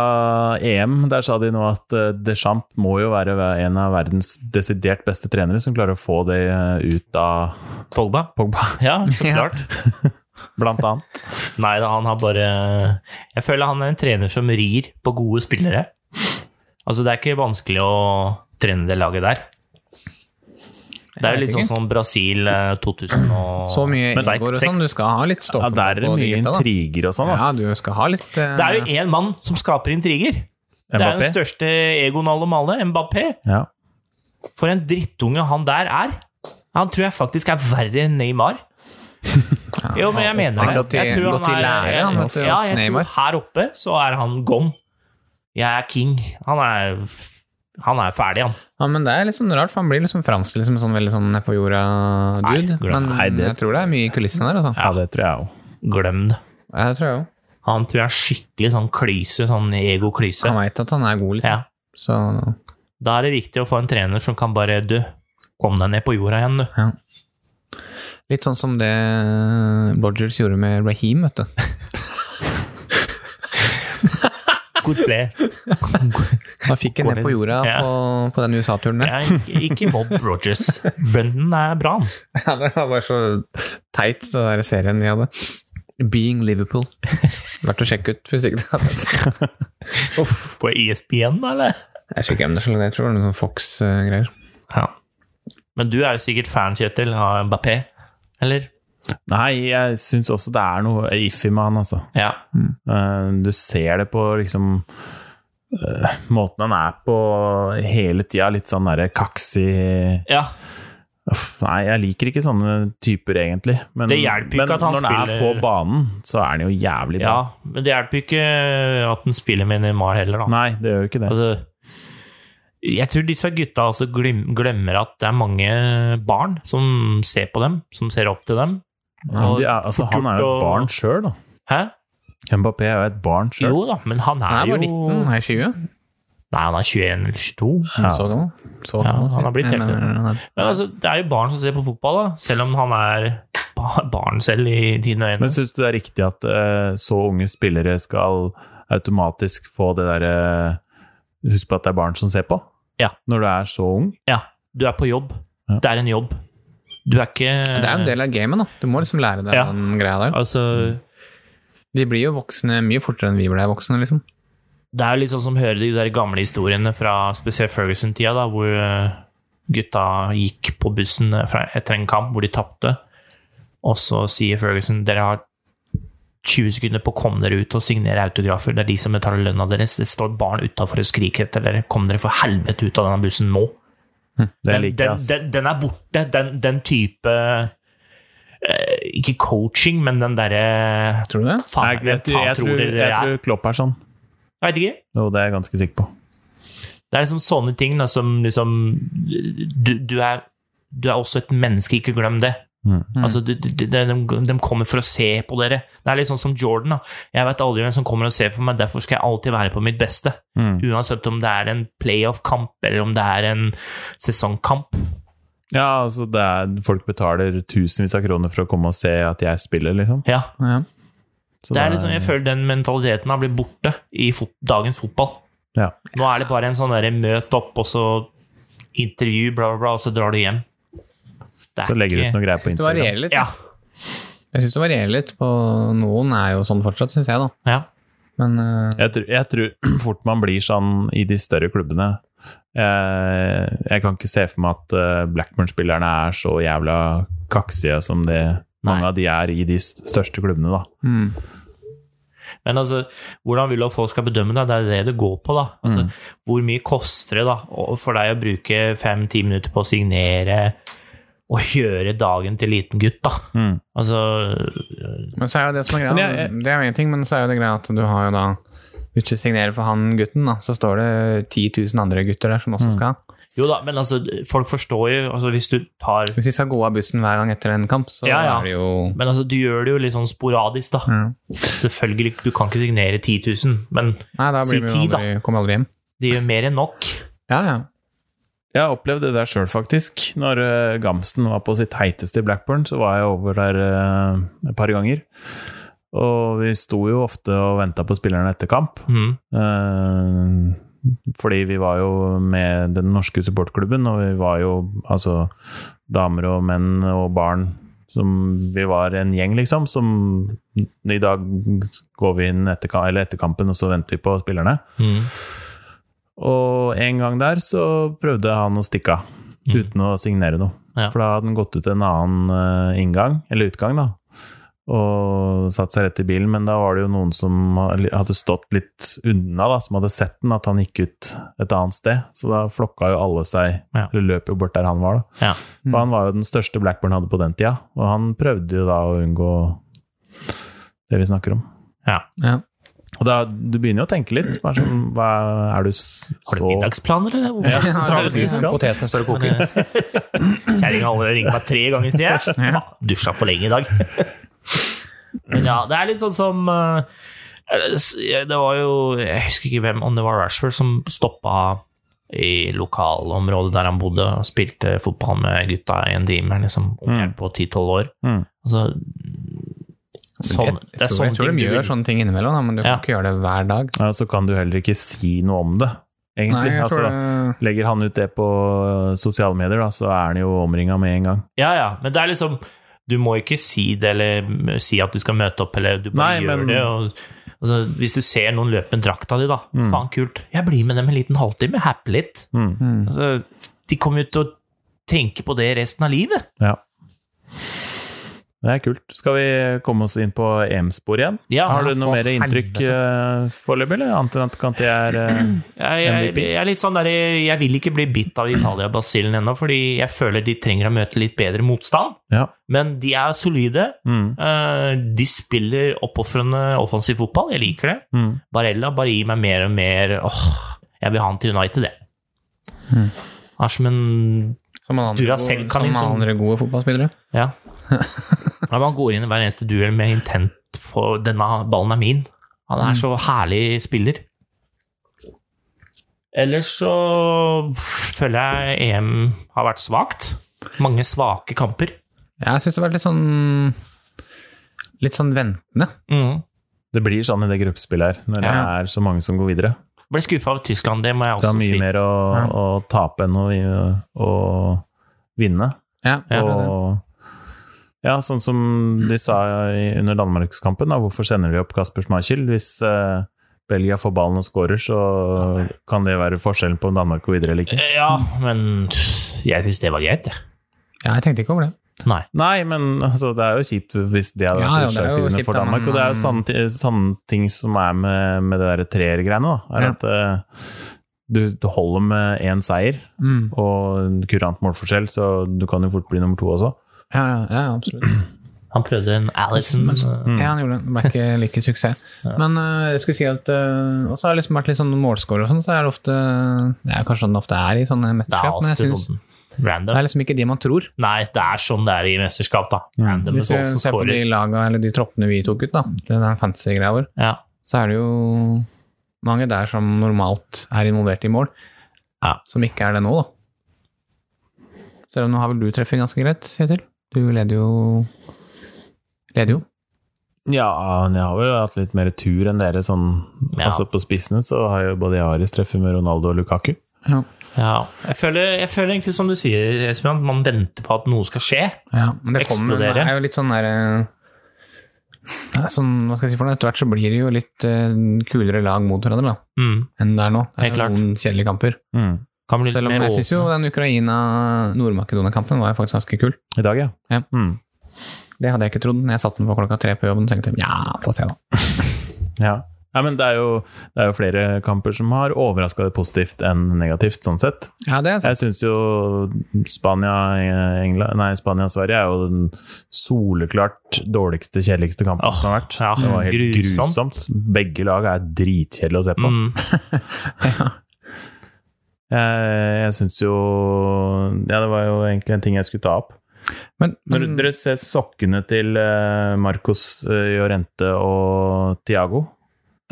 S1: EM. Der sa de nå at eh, Deschamps må jo være en av verdens desidert beste trenere som klarer å få det eh, ut av
S3: Pogba.
S1: Pogba,
S3: Ja, så
S2: Ja.
S3: klart.
S1: blant annet.
S3: Nei da, han har bare eh, Jeg føler han er en trener som rir på gode spillere. Altså, det er ikke vanskelig å trene det laget der. Det er jo
S2: Jeg
S3: litt
S2: vet
S3: sånn
S2: ikke.
S3: som Brasil eh, 2000 og
S2: Så mye
S3: Men-
S2: inngår og sånn. Du skal ha litt
S1: Ja,
S2: ståpå
S1: der er det
S2: på de
S1: mye
S2: gutta, da.
S1: intriger og sånn,
S2: Ja,
S1: ass.
S2: du skal ha litt eh,
S3: Det er jo én mann som skaper intriger. Det er jo
S1: Mbappé.
S3: den største egoen av dem alle, Mbappé.
S1: Ja.
S3: For en drittunge han der er. Han tror jeg faktisk er verre enn Neymar. Jo, men jeg mener
S2: Han har
S3: det.
S2: gått i-
S3: Jeg tror
S2: gått i lære, han, vet du,
S3: ja,
S2: hos
S3: jeg
S2: Neymar.
S3: tror her oppe så er han gone. Jeg er king. Han er, han er ferdig, han.
S2: Ja, men det er litt sånn rart, for han blir liksom framstilt som en sånn veldig sånn ned på jorda-dude.
S3: Nei, glem det.
S2: Men
S1: Nei, det-
S2: jeg tror det er mye i kulissene der, altså.
S1: ja, det tror jeg òg.
S3: Glem det.
S2: Ja, det tror jeg jo.
S3: Han tror jeg er skikkelig sånn klyse, sånn ego-klyse.
S2: Han veit at han er god, liksom.
S3: Ja.
S2: Så
S3: Da er det viktig å få en trener som kan bare Du, kom deg ned på jorda igjen, du.
S2: litt sånn som det eh, Bodgers gjorde med Raheem, vet du.
S3: Good play.
S2: Han fikk en
S3: Går
S2: ned
S3: det-
S2: på jorda
S3: Ja.
S2: på, på den USA-turen der.
S3: Ja, ikke, ikke Bob Rogers. Brendan er bra, han.
S2: Ja, det var bare så teit, den der serien de hadde. Being Liverpool. Verdt å sjekke ut, hvis ikke du har sett.
S3: På E ESPN, eller?
S2: Jeg sjekker om det er så lenge, jeg tror det er noen sånn eh, Fox-greier.
S3: Ja. Men du er jo sikkert fan, Kjetil, av Mbappé, eller?
S1: Nei, jeg syns også det er noe iffy med han, altså.
S3: Ja.
S1: Eh, Du ser det på liksom eh, Måten han er på hele tida, litt sånn derre kaksig
S3: ja.
S1: Uff, Nei, jeg liker ikke sånne typer, egentlig. Men,
S3: Det hjelper jo
S1: men
S3: ikke at han
S1: når han er
S3: spiller-
S1: på banen, så er han jo jævlig bra.
S3: ja. Men det hjelper jo ikke eh, at den spiller med Neymar heller, da.
S1: Nei, det gjør jo ikke det.
S3: Altså, jeg tror disse gutta også glem- glemmer at det er mange barn som ser på dem, som ser opp til dem.
S1: Men de er, altså,
S3: fort
S1: han er jo
S3: gjort å-
S1: et barn sjøl, da.
S3: Hæ?
S1: Mbappé er jo et barn sjøl.
S3: Jo da, men
S2: Han
S3: han er,
S2: er bare
S3: jo
S2: 19,
S3: Nei,
S2: han er 20.
S3: han er 21 eller 22.
S1: Ja.
S2: Så gammel? Så
S3: Ja,
S2: gammel,
S3: han har blitt
S2: sier jeg.
S3: helt
S2: Jeg mener, han er-
S3: Men altså, det er jo barn som ser på fotball, da. Selv om han er ba- barn selv i dine øyne.
S1: Men syns du det er riktig at eh, så unge spillere skal automatisk få det derre Husk på at det er barn som ser på,
S3: Ja.
S1: når du er så ung.
S3: Ja, du er på jobb.
S1: Ja.
S3: Det er en jobb. Du er ikke
S2: Det er jo en del av gamet, da. Du må liksom lære deg
S3: Eh, Ja.
S2: den greia der.
S3: Altså,
S2: De blir jo voksne mye fortere enn vi ble voksne, liksom.
S3: det er jo litt sånn som hører de der gamle historiene fra spesielt Ferguson-tida, da, hvor eh, gutta gikk på bussen eh, fra- etter en kamp hvor de tapte, og så sier Ferguson dere har 20 sekunder på å komme dere ut og signere autografer. Det er de som betaler lønna deres. Det står barn utafor og skriker etter dere. Kom dere for helvete ut av denne bussen nå!
S1: Det
S3: den,
S1: liker jeg,
S3: den,
S1: ass.
S3: den, den er borte. Den, den type eh, Ikke coaching, men den derre
S2: Tror du det?
S1: Nei,
S3: Faen,
S1: jeg,
S3: hvem
S1: tror-
S3: faen
S1: jeg,
S3: tror
S1: tror,
S3: dere det
S1: jeg
S3: er?
S1: tror Klopp er sånn.
S3: Jeg vet ikke.
S1: Jo, det er jeg ganske sikker på.
S3: Det er liksom sånne ting da, som liksom du, du, er, du er også et menneske, ikke glem det.
S1: Mm.
S3: Altså, du, du, de, de, de kommer for å se på dere. Det er litt sånn som Jordan. da. Jeg vet aldri hvem som kommer og ser på meg, derfor skal jeg alltid være på mitt beste.
S1: Mm.
S3: Uansett om det er en playoff-kamp eller om det er en sesongkamp.
S1: Ja, altså det er, Folk betaler tusenvis av kroner for å komme og se at jeg spiller, liksom.
S3: Ja,
S2: Ja.
S1: Så
S3: det er liksom, Jeg føler den mentaliteten har blitt borte i fot dagens fotball.
S1: ja.
S3: Nå er det bare en sånn derre møt opp, og så intervju, bla, bla, bla, og så drar du hjem. Det
S1: Så legger du ut noe greier på
S2: Det varierer
S1: Instagram.
S2: litt.
S3: Ja.
S2: Jeg syns det varierer litt. På noen er jo sånn fortsatt, syns jeg, da.
S3: ja.
S2: Men eh,
S1: Jeg tror, jeg tror fort man blir sånn i de større klubbene. Eh, jeg kan ikke se for meg at eh, Blackburn-spillerne er så jævla kaksige som det mange
S3: Nei.
S1: av de er i de s- største klubbene, da.
S2: mm,
S3: Men altså, hvordan vil du at folk skal bedømme deg? Det er det det går på, da. Altså,
S1: Mm.
S3: Hvor mye koster det da, å- for deg å bruke fem-ti minutter på å signere og gjøre dagen til liten gutt, da?
S1: Mm.
S3: Altså
S2: men så er jo det som er greia.
S1: Men jeg-
S2: da. det er jo én ting, men så er jo det greia at du har jo da Hvis du signerer for han gutten, da, så står det 10 000 andre gutter der som
S1: Mm.
S2: også skal.
S3: Jo da, men altså, folk forstår jo altså, Hvis du tar
S2: Hvis vi skal gå av bussen hver gang etter en kamp, så
S3: Ja, ja.
S2: er det jo
S3: Men altså, du gjør det jo litt sånn sporadisk, da.
S2: Mm.
S3: Selvfølgelig, du kan ikke signere 10 000, men
S2: Nei, da
S3: Si
S2: blir vi
S3: ti,
S2: jo
S3: da.
S2: aldri, kommer vi aldri hjem.
S3: de gjør mer enn nok.
S2: Ja, ja.
S1: Jeg har opplevd det der sjøl, faktisk. Når eh, Gamsten var på sitt heiteste i Blackburn, så var jeg over der eh, et par ganger. Og vi sto jo ofte og venta på spillerne etter kamp.
S3: Mm.
S1: Eh, fordi vi var jo med den norske supportklubben, og vi var jo altså damer og menn og barn som Vi var en gjeng, liksom, som I dag går vi inn etter, ka- eller etter kampen, og så venter vi på spillerne.
S3: Mm.
S1: Og en gang der så prøvde han å stikke av,
S3: Mm.
S1: uten å signere noe.
S3: Ja.
S1: For da hadde han gått ut en annen eh, inngang, eller utgang, da. Og satt seg rett i bilen, men da var det jo noen som hadde stått litt unna, da, som hadde sett den, at han gikk ut et annet sted. Så da flokka jo alle seg,
S3: Ja.
S1: eller løp jo bort der han var, da.
S3: Ja.
S1: For han var jo den største Blackburn hadde på den tida, og han prøvde jo da å unngå det vi snakker om.
S3: ja.
S2: ja.
S1: Og da, du begynner jo å tenke litt. Bare sånn, hva, er du så
S3: Har du middagsplaner, eller? Hvor-
S1: Ja.
S2: Jeg har
S1: Har du
S2: litt-
S1: fisk, da?
S2: Potetene står og koker.
S3: Kjerringa eh, har allerede ringt meg tre ganger siden. jeg. Faen, Dusja for lenge i dag. Men ja, det er litt sånn som eh, Det var jo Jeg husker ikke hvem, om det var Rashford som stoppa i lokalområdet der han bodde og spilte fotball med gutta i en time,
S2: Mm.
S3: liksom, ungeren på 10-12 år.
S1: Mm.
S3: Altså, sånn,
S2: Jeg-
S3: det er
S2: jeg
S3: sånne
S2: tror
S3: ting
S2: de
S3: du
S2: gjør
S3: vil
S2: sånne ting innimellom, da, men du
S3: Ja.
S2: kan ikke gjøre det hver dag.
S1: Ja, så kan du heller ikke si noe om det,
S2: Nei,
S1: egentlig.
S2: jeg tror
S1: altså,
S2: det
S1: Legger han ut det på eh, sosiale medier, da, så er han jo omringa med en gang.
S3: Ja, ja, men det er liksom Du må ikke si det, eller si at du skal møte opp, eller du bare
S1: Nei,
S3: gjør
S1: men-
S3: det. Og, altså, hvis du ser noen løpe med drakta di, da. Faen, kult. Jeg blir med dem en liten halvtime, happy litt.
S1: Mm.
S3: Altså, de kommer jo til å tenke på det resten av livet.
S1: Ja. Det er kult. Skal vi komme oss inn på EM-spor igjen?
S3: Ja,
S1: Har du
S3: for
S1: noe mer inntrykk eh, foreløpig, eller annet enn at Kanté er eh,
S3: Jeg, jeg,
S1: MVP?
S3: jeg er litt sånn der, jeg vil ikke bli bitt av Italia og Brasilien ennå, fordi jeg føler de trenger å møte litt bedre motstand.
S1: Ja.
S3: Men de er solide.
S1: Mm.
S3: Eh, De spiller oppofrende offensiv fotball. Jeg liker det.
S1: Mm.
S3: Barella bare gir meg mer og mer Åh, jeg vil ha han til United, jeg.
S1: Hmm.
S2: Mhm.
S3: Han er som en
S2: Som alle andre,
S3: Duracell
S2: gode,
S3: kan
S2: som
S3: liksom-
S2: alle andre gode fotballspillere.
S3: Ja. Ja, men Han går inn i hver eneste duell med intent for 'denne ballen er min'. Han
S1: Hmm.
S3: er så herlig spiller. Ellers så føler jeg EM har vært svakt. Mange svake kamper.
S2: Jeg syns det har vært litt sånn Litt sånn ventende.
S3: Mhm.
S1: Det blir sånn i det gruppespillet her, når det
S2: Ja.
S1: er så mange som går videre.
S3: Ble skuffa av Tyskland, det må jeg
S1: Det er
S3: også
S1: mye
S3: si.
S1: mer å,
S2: Ja.
S1: å tape enn å, å vinne.
S2: Ja, det ble det.
S1: Og, ja, sånn som de sa i- under Danmarkskampen, da, hvorfor sender de opp Kasper Schmeichel? Hvis eh, Belgia får ballen og skårer, så kan det være forskjellen på om Danmark går videre eller ikke.
S3: Eh, Ja, men jeg syns det var greit, jeg.
S2: ja, jeg tenkte ikke over det.
S3: Nei.
S1: Nei, men altså, det er jo kjipt hvis det hadde
S2: Ja, ja,
S1: vært
S2: det er jo
S1: utslagsgivende
S2: kjipt,
S1: for
S2: da,
S1: Danmark.
S2: men-
S1: Og det er jo sånne, ti- sånne ting som er med, med det der treergreiene, da. Er
S2: Ja.
S1: at eh, du, du holder med én seier
S2: Mm.
S1: og en kurant målforskjell, så du kan jo fort bli nummer to også.
S2: Ja, ja, ja, absolutt.
S3: Han prøvde en eh, Alison
S2: Ja, han gjorde det. Det ble ikke like suksess. Men øh, jeg skulle si at øh, også har det liksom vært litt sånn målscorer og sånn, så er det ofte Det er kanskje sånn det ofte er i sånne
S3: Det er
S2: mesterskap, men jeg
S3: alltid
S2: synes
S3: sånn
S2: det
S3: random.
S2: er liksom ikke de man tror.
S3: Nei, det er sånn det er i mesterskap, da. Random
S2: Mm. Hvis vi
S3: folk som
S2: ser på de
S3: scorer.
S2: laga eller de troppene vi tok ut, da, til den fantasy-greia vår,
S3: Ja.
S2: så er det jo mange der som normalt er involvert i mål,
S3: Ja.
S2: som ikke er det nå, da. Selv om nå har vel du treffet ganske greit, Kjetil. Du leder jo Leder jo.
S1: Ja, men jeg har vel hatt litt mer tur enn dere. Sånn,
S3: Ja.
S1: Altså På spissene så har jo både jeg og Aris treffer med Ronaldo og Lukaku.
S2: Ja.
S3: Ja. Jeg, føler, jeg føler egentlig som du sier, Espen, at man venter på at noe skal skje.
S2: Ja, men det kommer,
S3: Eksplodere.
S2: Det er jo litt sånn der eh, det er sånn, hva skal jeg si for noe, Etter hvert så blir det jo litt eh, kulere lag mot hverandre da,
S3: Mm.
S2: enn det er nå. Det
S3: Helt
S2: er jo
S3: klart.
S2: noen kjedelige kamper.
S1: Mm.
S3: Kan bli litt
S2: Selv om
S3: mer
S2: jeg syns jo den Ukraina-Nord-Makedonia-kampen var jo faktisk ganske kul.
S1: I dag, ja.
S2: Ja.
S1: Mm.
S2: Det hadde jeg ikke trodd når jeg satt den på klokka tre på jobben og tenkte ja, få se da.
S1: ja. Nei, men det er, jo, det er jo flere kamper som har overraska det positivt enn negativt, sånn sett.
S2: Ja, det er sant.
S1: Jeg syns jo Spania-Sverige nei, Spania og Sverige er jo den soleklart dårligste, kjedeligste kampen
S3: Åh,
S1: som har vært.
S3: ja,
S1: det var helt
S3: grusomt.
S1: grusomt. Begge lag er dritkjedelige å se på.
S3: Mm.
S1: Jeg, jeg syns jo Ja, det var jo egentlig en ting jeg skulle ta opp.
S2: Men,
S1: Når
S3: Mm.
S2: men,
S1: dere ser sokkene til eh, Marcos eh, Llorente og Tiago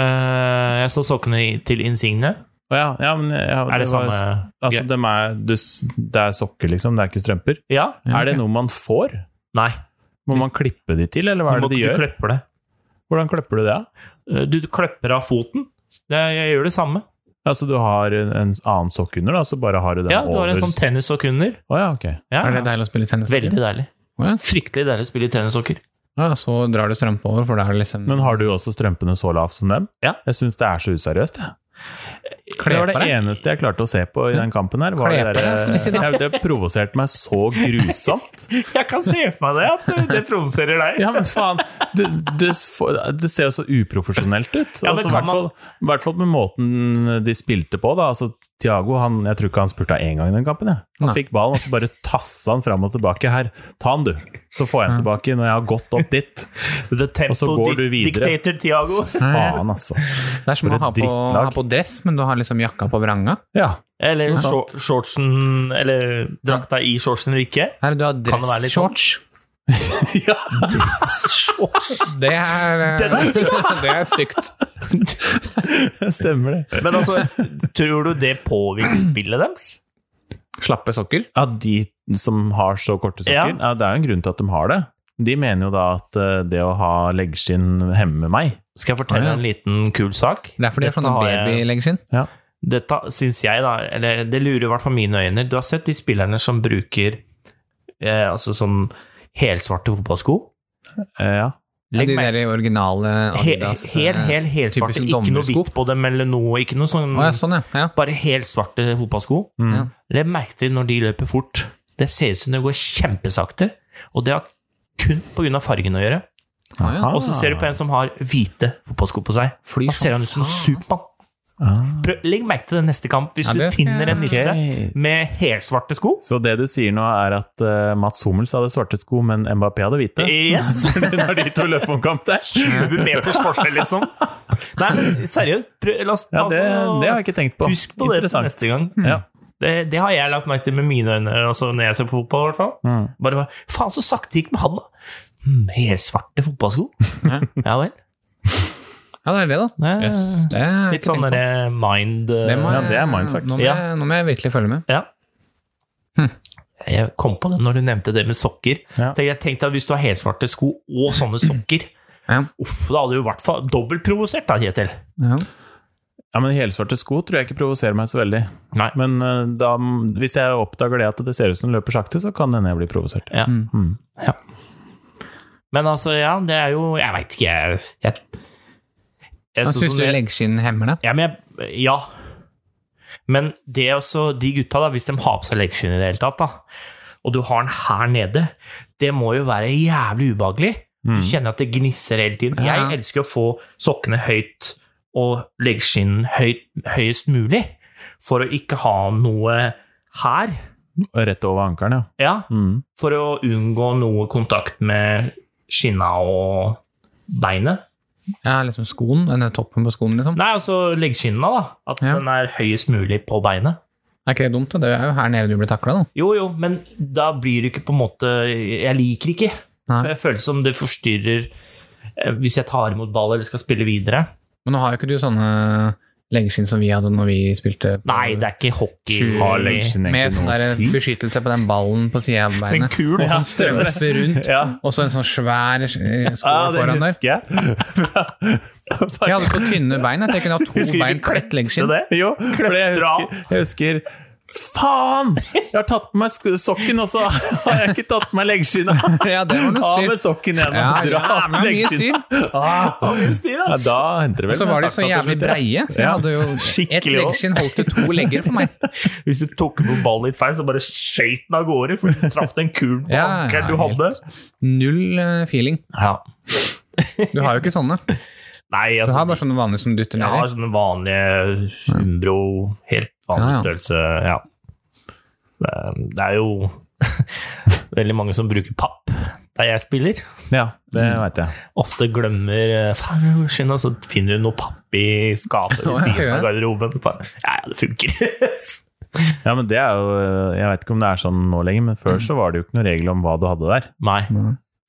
S3: Eh, jeg så sokkene i- til Insigne.
S1: Å ja, ja, men ja,
S3: Er det
S1: var-
S3: samme
S1: Altså, dem er, du s- det er sokker, liksom. Det er ikke strømper.
S3: Ja?
S2: Ja,
S1: Er det
S2: ok.
S1: noe man får?
S3: Nei.
S1: Må man klippe de til, eller hva er det
S3: Du må-
S1: de
S3: du
S1: gjør?
S3: klipper det.
S1: Hvordan klipper du det? da?
S3: Eh, Du klipper av foten. Det, jeg gjør det samme.
S1: Altså du har en, en annen sokk under, da, så bare har du den
S3: Ja, Du
S1: over?
S3: har en sånn tennissokk under.
S1: Å ja, ok.
S3: Ja,
S2: er det deilig å spille tennis?
S3: Veldig deilig.
S2: Å,
S3: Fryktelig deilig å spille i tennissokker.
S2: Ja, ja, så drar du strømpe over, for da er det liksom
S1: Men har du også strømpene så lavt som dem?
S3: Ja.
S1: Jeg syns det er så useriøst, jeg.
S2: Kle
S1: Det var
S2: på
S1: det
S2: deg.
S1: eneste jeg klarte å se på i den kampen her. Var det,
S2: Kle på deg, skulle
S1: der,
S2: jeg si
S1: ja, det provoserte meg så grusomt.
S3: Jeg kan se for meg det, at det provoserer deg.
S1: Ja, men faen! Det, det, får- det ser jo så uprofesjonelt ut.
S3: Ja, men
S1: Altså, I
S3: kan
S1: hvert fall- i hvert fall med måten de spilte på, da. Altså, Tiago, han, jeg tror ikke han spurte én gang i den kampen. Jeg. Han
S2: Nei.
S1: fikk ballen, og så bare tassa han fram og tilbake. Her, ta han, du. Så får jeg den tilbake når jeg har gått opp dit.
S3: The
S1: Og så
S3: Temple
S1: går du
S3: di
S1: videre.
S3: Dictator Tiago.
S1: Faen, altså.
S2: Det er som
S1: For
S2: å
S1: et
S2: ha på,
S1: drittlag.
S2: ha på dress, men du har liksom jakka på vranga.
S1: Ja.
S3: Eller
S2: Ja,
S3: shor- shortsen Eller drakta i shortsen eller ikke.
S2: Her, du har
S3: være litt sånn?
S2: dress-shorts.
S1: ja.
S2: Det er eh,
S3: Den er
S2: Det er stygt.
S1: Stemmer det.
S3: Men altså, tror du det påvirker spillet deres?
S2: Slappe sokker.
S1: Ja, de som har så korte sokker,
S3: Ja.
S1: ja. det er jo en grunn til at de har det. De mener jo da at eh, det å ha leggskinn hemmer meg.
S3: Skal jeg fortelle
S2: Å, ja.
S3: en liten kul sak?
S2: Det er fordi det er
S3: Dette
S2: sånne
S3: har jeg-
S2: babyleggskinn.
S3: Dette syns jeg, da Eller det lurer i hvert fall mine øyne. Du har sett de spillerne som bruker eh, altså sånn helsvarte fotballsko?
S1: Eh, ja.
S2: Ja, de
S3: Legg merke
S2: der originale
S3: He-
S2: Adidas
S3: Helt,
S2: eh,
S3: helt, helt svarte.
S2: typisk
S3: Ikke noe
S2: dommersko.
S3: hvitt på dem eller noe. Ikke noe sånn
S2: Å ja, sånn ja. ja.
S3: Bare helt svarte fotballsko.
S1: Mm.
S2: Ja.
S3: Legg merke til når de løper fort. Det ser ut som det går kjempesakte, og det har kun pga. fargen å gjøre.
S2: Å, ja.
S1: Ah.
S3: Og så ser du på en som har hvite fotballsko på seg.
S2: Fly
S3: Da ser
S2: som
S3: han ut som
S2: faen.
S3: Supermann.
S1: Ah.
S3: Prøv- Legg merke til det neste kamp, hvis
S2: Ja, det
S3: du
S2: skal jeg-
S3: finner en nisse
S1: Ok.
S3: med helsvarte sko.
S1: Så det du sier nå, er at eh, Mats Hummels hadde svarte sko, men Mbappé hadde hvite?
S3: Yes!
S1: Når de to løp om kamp der?
S3: 20 meters forskjell, liksom. Nei, men seriøst. Prøv, la oss ta
S1: Ja, det,
S3: sånn-
S1: det har jeg ikke tenkt på.
S3: Husk på det Mm. til
S1: Interessant.
S3: neste gang.
S1: Ja.
S3: Det, det har jeg lagt merke til med mine øyne altså når jeg ser på fotball. I hvert fall.
S1: Mm.
S3: Bare bare, Faen, så sakte det gikk med han, da! Hmm, Helsvarte fotballsko.
S2: Ja.
S3: ja vel.
S2: ja, det er det, da.
S3: Nei,
S2: Yes. Det er
S3: Litt sånn derre mind eh,
S1: må Ja, det er mindfuck.
S2: Nå må,
S3: Ja.
S2: jeg, nå må jeg virkelig følge med.
S3: Ja.
S2: Hm.
S3: Jeg kom på det når du nevnte det med sokker.
S1: Ja.
S3: Tenkte- Jeg tenkte at Hvis du har helsvarte sko og sånne sokker,
S2: Ja.
S3: uff, da hadde du i hvert fall dobbelt provosert, da, Kjetil.
S2: Ja.
S1: ja, men Helsvarte sko tror jeg ikke provoserer meg så veldig.
S3: Nei.
S1: Men eh, da, hvis jeg oppdager det at det ser ut som den løper sakte, så kan det hende jeg blir provosert.
S3: Ja.
S1: Mm.
S3: Men altså, ja, det er jo Jeg veit ikke, jeg, jeg, jeg
S2: Jeg
S3: synes
S2: syns
S3: sånn-
S2: du
S3: jeg-
S2: leggskinn hemmer deg.
S3: Ja, men jeg, ja. Men det er også de gutta, da, hvis de har på seg lekeskinn i det hele tatt, da, og du har den her nede, det må jo være jævlig ubehagelig. Du kjenner at det gnisser hele tiden.
S2: Ja.
S3: Jeg elsker å få sokkene høyt og leggskinnet høyt, høyest mulig, for å ikke ha noe her.
S1: Rett over ankelen, ja.
S3: Ja,
S1: Mm.
S3: for å unngå noe kontakt med skinna og beinet.
S2: Ja, liksom skoen. Denne toppen på skoen, liksom.
S3: Nei, altså leggskinnene, da. At
S2: Ja.
S3: den er høyest mulig på beinet.
S2: Er ikke det dumt? da? Det er jo her nede du blir takla, da.
S3: Jo, jo, men da blir det ikke på en måte Jeg liker ikke.
S2: Nei.
S3: For jeg føler som det forstyrrer eh, hvis jeg tar imot ball eller skal spille videre.
S2: Men nå har jo ikke du sånne leggskinn som vi hadde når vi spilte på-
S3: Nei, det er ikke hockey.
S1: Har leggskinn
S2: Med sånn der
S1: egentlig noe å si?
S2: beskyttelse på den ballen på sida av
S3: En
S2: beinet.
S3: kul,
S2: Og
S1: Ja,
S2: sånn strømpe rundt,
S1: Ja.
S2: og så en sånn svær eh, skål
S1: Ja, det
S2: foran der.
S1: husker jeg.
S2: Jeg hadde så tynne bein at jeg kunne ha to
S3: Husker du ikke
S2: bein på ett
S3: klepte
S2: leggskinn.
S3: det?
S1: Jo, for jeg husker, jeg husker Faen! Jeg har tatt på meg sk- sokken, og så har jeg ikke tatt på meg leggskinna.
S2: Ja, det var noe
S1: Av med
S2: styr.
S1: sokken igjen
S2: Ja,
S1: og dra av
S2: jævla
S1: med
S2: mye styr.
S1: leggskinna. Ah.
S3: altså.
S1: Ja, da henter det vel
S2: Og så
S1: med
S2: var de så
S1: saksa til
S2: jævlig
S1: slutt, ja.
S2: breie, så jeg
S1: Ja.
S2: hadde jo ett
S3: Skikkelig også.
S2: leggskinn holdt til to legger for meg.
S3: Hvis du tok på ballen litt feil, så bare skøyt den av gårde, for du traff den kulen på
S2: Ja, ja,
S3: ankelen du
S2: helt.
S3: hadde.
S2: Null eh, feeling.
S3: Ja.
S2: Du har jo ikke sånne.
S3: Nei,
S2: Du har
S3: altså,
S2: bare sånne vanlige som dytter
S3: jeg har
S2: nedi.
S3: sånne vanlige Umbro, helt
S2: Ja,
S3: vanlig
S2: ja.
S3: størrelse, ja. Det er, det er jo veldig mange som bruker papp der jeg spiller.
S1: Ja, det
S2: Mm.
S1: veit jeg.
S3: Ofte glemmer eh, faen, jeg må skynde, og så finner du noe papp i skapet ved
S2: Å, ja,
S3: siden
S2: ja.
S3: av garderoben. og bare, Ja, ja, det funker.
S1: Ja, men det er jo, Jeg veit ikke om det er sånn nå lenger, men
S2: Mm.
S1: før så var det jo ikke noen regel om hva du hadde der.
S3: Nei,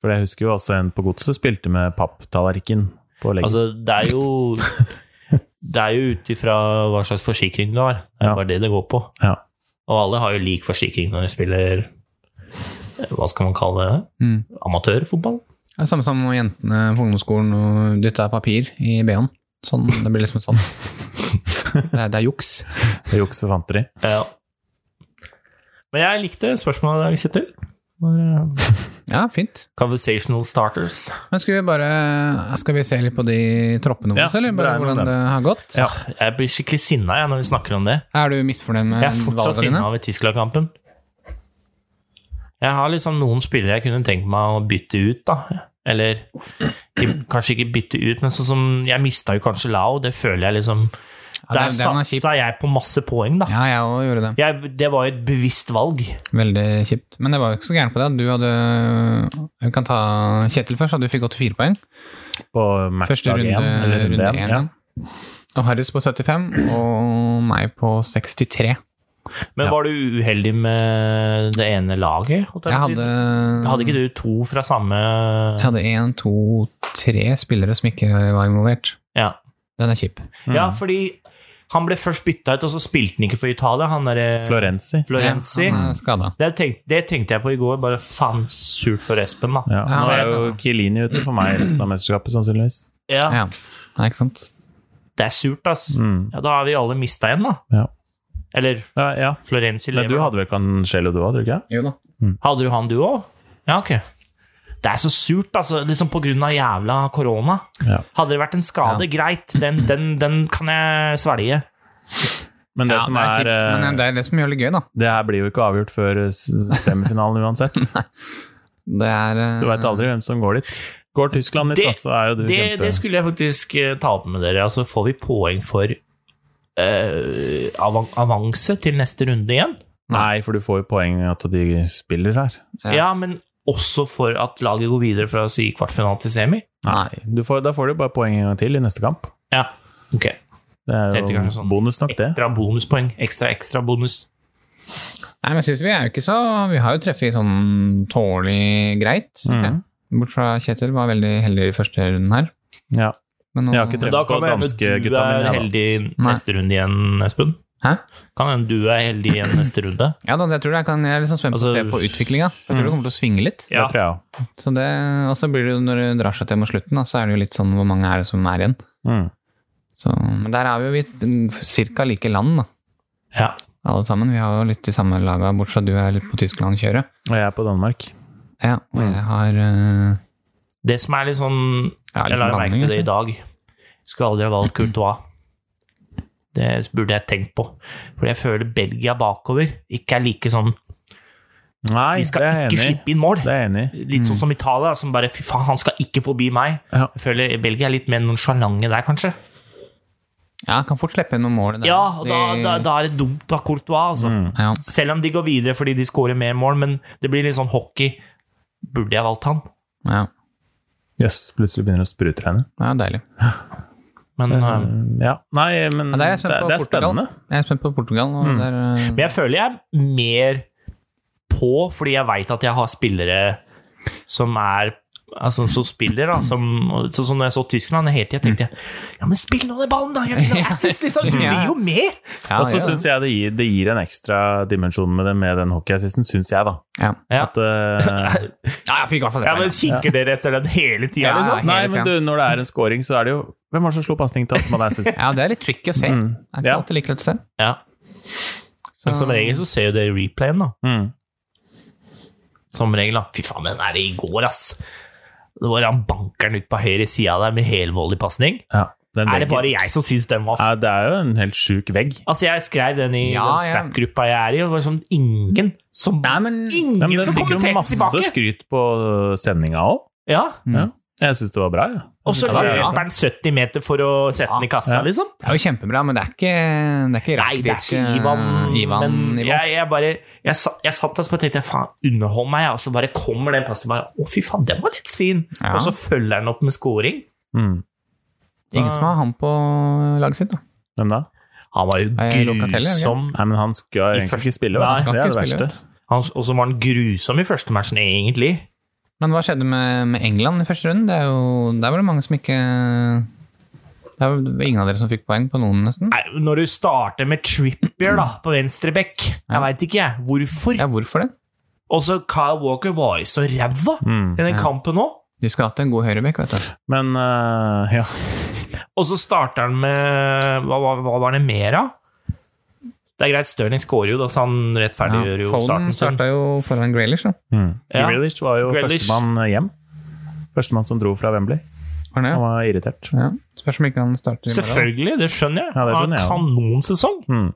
S1: For jeg husker jo også en på godset spilte med papptallerken på leggen.
S3: altså det er jo Det er jo ut ifra hva slags forsikring du har. Det er
S1: Ja.
S3: bare det det går på.
S1: Ja.
S3: Og alle har jo lik forsikring når de spiller eh, hva skal man kalle det?
S2: Mm.
S3: Amatørfotball?
S2: Det er samme som når jentene på ungdomsskolen og dytta papir i BH-en. Sånn, det blir liksom sånn. Det er, det er juks.
S1: Juks og fanteri.
S3: Ja. Men jeg likte spørsmålet i dag, Kjetil. Bare-
S2: Ja, fint.
S3: Conversational starters.
S2: Men skal vi bare Skal vi se litt på de troppene våre,
S1: Ja,
S2: eller? Bare
S1: dreier meg om
S2: hvordan
S1: dem.
S2: det har gått?
S1: Ja.
S3: Jeg blir skikkelig sinna jeg, når vi snakker om det.
S2: Er du misfornøyd med
S3: Jeg er fortsatt
S2: Mm, valgene
S3: sinna
S2: dine?
S3: over Tyskland-kampen. Jeg har liksom noen spillere jeg kunne tenkt meg å bytte ut, da. Eller ikke- kanskje ikke bytte ut, men sånn som Jeg mista jo kanskje Lao, det føler jeg liksom
S2: Ja,
S3: Der
S2: den- den er kjip.
S3: satsa jeg på masse poeng, da.
S2: Ja, jeg òg gjorde det.
S3: Jeg, det var jo et bevisst valg.
S2: Veldig kjipt. Men det var jo ikke så gærent på det. Du hadde Vi kan ta Kjetil først, da. du fikk 84 poeng.
S1: På
S2: Første
S1: matchdag
S2: runde,
S1: én, eller runde
S2: runde
S1: én.
S2: 1.
S1: Ja.
S2: Og Harris på 75, og meg på 63.
S3: Men
S1: Ja.
S3: var du uheldig med det ene laget? holdt
S2: Jeg
S3: på å si?
S2: hadde
S3: Hadde
S2: Mm.
S3: ikke du to fra samme
S2: Jeg hadde én, to, tre spillere som ikke var involvert.
S3: Ja,
S2: Den er kjip.
S3: ja fordi han ble først bytta ut, og så spilte han ikke for Italia, han derre
S1: Florenzi.
S3: Florenzi.
S2: Ja, han er skada.
S3: Det tenkte, det tenkte jeg på i går, bare faen surt for Espen, da.
S1: Ja. Nå er
S2: Ja,
S1: jo
S2: ja.
S1: Chiellini ute for meg i resten av mesterskapet, sannsynligvis.
S3: Ja,
S2: Ja. Nei, ikke sant?
S3: det er surt, ass.
S1: Mm.
S3: Ja, da har vi alle mista en, da.
S1: Ja.
S3: Eller
S1: Ja, ja.
S3: Florenzi
S1: Men
S3: lever.
S1: du
S3: da.
S1: hadde vel Cancelo, du òg, hadde du ikke?
S2: Jo da.
S3: Hadde du han, du òg? Ja, ok. Det er så surt, altså. Liksom på grunn av jævla korona.
S1: Ja.
S3: Hadde det vært en skade, greit. Den, den, den kan jeg svelge.
S1: Men det
S2: Ja,
S1: som er,
S2: kjipt,
S1: eh,
S2: men det er det som gjør det gøy, da.
S1: det her blir jo ikke avgjort før eh, s- semifinalen uansett.
S2: Det er eh,
S1: Du veit aldri hvem som går dit. Går Tyskland dit,
S3: Det-
S1: da, så er jo du
S3: Det,
S1: kjempe...
S3: det skulle jeg faktisk eh, ta opp med dere. Altså, får vi poeng for eh, avan avanse til neste runde igjen?
S1: Nei, for du får jo poeng at de spiller her.
S2: Ja.
S3: Ja. men også for at laget går videre fra å si kvartfinale til semi.
S1: Nei, du får, Da får du jo bare poeng en gang til i neste kamp.
S3: Ja, ok.
S1: Det er
S3: Tenkte
S1: jo
S3: kanskje sånn
S1: bonus nok, det.
S3: Ekstra bonuspoeng. Ekstra, ekstra bonus.
S2: Nei, men jeg synes vi er jo ikke så Vi har jo treffet sånn tålelig greit. synes jeg.
S1: Mhm.
S2: Bort fra Kjetil, var veldig heldig i første runden her.
S1: Ja.
S2: Men nå-
S1: Jeg har ikke
S3: Men
S1: treffet
S3: da kan
S1: på
S3: det hende
S1: danske
S3: du
S1: gutta
S3: er
S1: mine. jeg, da.
S3: heldig neste runde igjen, Espen.
S2: Hæ?
S3: Kan hende du er heldig igjen neste runde.
S2: Ja da, jeg tror jeg kan jeg er liksom spent på å
S3: Altså- mm.
S2: se på utviklinga. Jeg tror det kommer til å svinge litt.
S1: Det tror jeg også.
S2: Så det, og så blir det jo når det drar seg til mot slutten, da, så er det jo litt sånn hvor mange er det som er igjen.
S1: Mm.
S2: Så, men der er vi jo ca. like land, da.
S3: Ja.
S2: Alle sammen. Vi har jo litt de samme laga, bortsett fra du er litt på Tyskland-kjøret.
S1: Og jeg er på Danmark.
S2: Ja,
S3: Mm.
S2: og jeg har eh,
S3: Det som er litt sånn
S2: ja, litt
S3: Jeg la jo merke
S2: blanding.
S3: til det i
S2: egentlig.
S3: dag. Skulle aldri ha valgt Courtois. Det burde jeg tenkt på. For jeg føler Belgia bakover ikke er like sånn
S1: Nei,
S3: Vi
S1: det
S3: skal
S1: er jeg
S3: ikke
S1: enig i.
S3: slippe inn mål.
S1: Det er jeg enig i.
S3: Litt sånn som Italia, som bare Fy faen, han skal ikke forbi meg.
S1: Ja.
S3: Jeg føler Belgia er litt mer nonsjalante der, kanskje.
S2: Ja, kan fort slippe inn noen mål. der.
S3: Ja, og da,
S2: De-
S3: da, da er det dumt av Courtois,
S1: Mm.
S3: altså.
S2: ja.
S3: Selv om de går videre fordi de scorer mer mål, men det blir litt sånn hockey. Burde jeg valgt han?
S2: ja.
S1: Jøss, plutselig begynner det å sprutregne.
S2: Ja, deilig.
S3: Men, eh,
S1: Mm, Ja. Nei, men
S2: Ja, der er
S1: det,
S2: jeg spent på
S1: det er
S2: Portugal.
S1: spennende.
S2: Jeg er spent på Portugal.
S3: Mm.
S2: Og der, eh,
S3: men jeg føler jeg er mer på fordi jeg veit at jeg har spillere som er altså, som spiller, da. Som, sånn som når jeg så Tyskland hele tida, tenkte jeg ja, men spill nå den ballen, da! Jeg vil ha assist, liksom! Du blir jo med!
S2: Ja,
S1: Og så
S2: ja.
S1: syns jeg det gir, det gir en ekstra dimensjon med det med den hockeyassisten, syns jeg, da.
S2: ja.
S3: Ja.
S1: At, eh,
S2: ja, jeg fikk i hvert fall det.
S3: Ja, men Kikker dere etter den hele tida,
S2: Ja,
S3: liksom?
S1: nei,
S2: hele
S1: men du,
S2: tiden.
S1: når det er en scoring, så er det jo Hvem var det som slo pasning til han som hadde assist?
S2: ja, det er litt tricky å se.
S1: Mm.
S2: Det er ikke
S1: Ja.
S2: alltid like lett å se.
S3: Ja. Men som regel så ser jo det replayen, da.
S1: Mm.
S3: Som regel, da. Fy faen, men den er det i går, ass! Det var Han banker den ut på høyre sida der med helvolley pasning.
S1: Ja, den
S3: Er det
S1: veggen.
S3: bare jeg som syns den var f...
S1: ja, Det er jo en helt sjuk vegg.
S3: Altså, jeg skrev den i
S2: Ja,
S3: den
S2: ja.
S3: Snap-gruppa jeg er i, og det var sånn ingen som
S2: Nei, men
S3: Ingen
S1: Nei, men den
S3: som
S1: fikk jo
S3: kommenterte
S1: masse
S3: tilbake!
S1: skryt på sendinga òg.
S3: Ja.
S1: Jeg syns det var bra, jeg.
S3: Og så
S2: Ja, det er bra.
S3: løper han 70 meter for å sette den i kassa,
S1: Ja.
S3: liksom.
S2: Det er jo kjempebra, men det er ikke Det er ikke,
S3: Nei, det er ikke Ivan,
S2: eh, Ivan
S3: men
S2: Ivan.
S3: jeg, jeg bare jeg, sa- jeg satt der og tenkte faen, underhold meg, og så bare kommer den passen bare Å, fy faen, den var litt fin!
S2: Ja.
S3: Og så følger han opp med scoring.
S1: Mm.
S2: Ingen som har han på laget sitt, da.
S1: Hvem da?
S3: Han var jo
S2: Eh, Locatelli, eller?
S3: grusom.
S1: Nei, men han skal
S3: I
S1: egentlig
S3: første-
S1: ikke spille, vet
S2: Nei,
S1: du.
S2: skal
S1: det er det
S2: ikke spille,
S1: verste.
S3: Han, og så var han grusom i første matchen, egentlig.
S2: Men hva skjedde med, med England i første runde? Det er jo, der var det mange som ikke Det er jo ingen av dere som fikk poeng på noen, nesten.
S3: Nei, når du starter med Trippier da, på venstre bekk,
S2: Ja.
S3: jeg veit ikke jeg hvorfor.
S2: Ja, hvorfor det?
S3: Og så Kyle Walker var jo så ræva
S1: Mm.
S3: i den
S2: Ja.
S3: kampen òg.
S2: De skulle hatt en god høyrebekk, vet du.
S1: Men eh, ja.
S3: Og så starter han med Hva, hva, hva var det mer av? Det er greit, Stirling skårer jo, da, så han rettferdiggjør jo
S2: Foden
S3: starten sin.
S2: starta jo foran Graylish, da.
S1: Mm.
S3: Ja.
S1: Grealish var jo
S3: Grealish.
S1: førstemann hjem. Førstemann som dro fra Wembley.
S2: Var det?
S1: Han var irritert.
S2: Ja. Spørs om ikke han starter i morgen.
S3: Selvfølgelig, det skjønner jeg.
S1: Ja, det
S3: Han
S1: skjønner
S3: har
S1: jeg
S3: kanonsesong.
S1: Mm.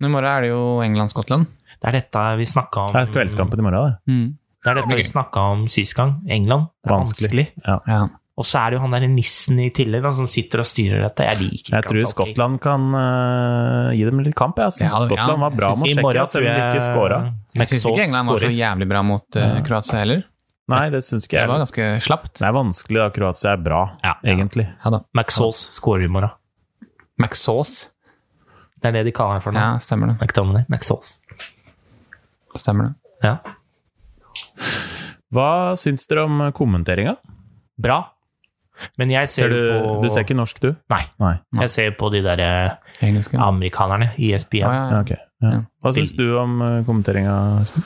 S2: Men I morgen er det jo England-Skottland. Mm.
S3: Det er dette vi snakka om
S1: Det er kveldskampen i morgen, det.
S3: Det er dette vi snakket om sist gang. England. Det er vanskelig.
S1: Vanskelig. Ja.
S2: Ja.
S3: Og så er det jo han der nissen i tillegg da, som sitter og styrer dette. Jeg liker ikke
S1: Jeg tror
S3: hans alltid.
S1: Skottland kan eh, gi dem litt kamp. Jeg, altså.
S2: Ja, det- ja,
S1: Skottland var
S2: jeg
S1: bra
S2: synes
S1: mot
S3: I
S1: Tsjekkia,
S3: morgen tror
S1: selv om de
S3: jeg
S1: ikke scora.
S2: Jeg syns ikke England var så
S3: skårer.
S2: jævlig bra mot eh, Kroatia heller.
S1: Nei, det syns ikke
S2: Det var
S1: jeg.
S2: ganske slapt.
S1: Det er vanskelig da Kroatia er bra,
S3: Ja.
S1: egentlig.
S2: Ja da.
S3: McSauls skårer i morgen.
S2: McSauce.
S3: Det er det de kaller han for nå.
S2: Ja, stemmer det.
S3: McTominay. McSauls.
S2: Stemmer det.
S3: Ja.
S1: Hva syns dere om eh, kommenteringa?
S3: Bra. Men jeg ser,
S1: Ser du,
S3: jo på
S1: du ser ikke norsk, du?
S3: Nei.
S1: Nei.
S3: Jeg ser jo på de der eh,
S2: Engelsk. ja.
S3: amerikanerne i E ESPN.
S2: Ja, ja,
S1: Ah, Ja,
S2: ja.
S1: ok. Ja.
S2: Ja.
S1: Hva syns du om eh, kommenteringa, Espen?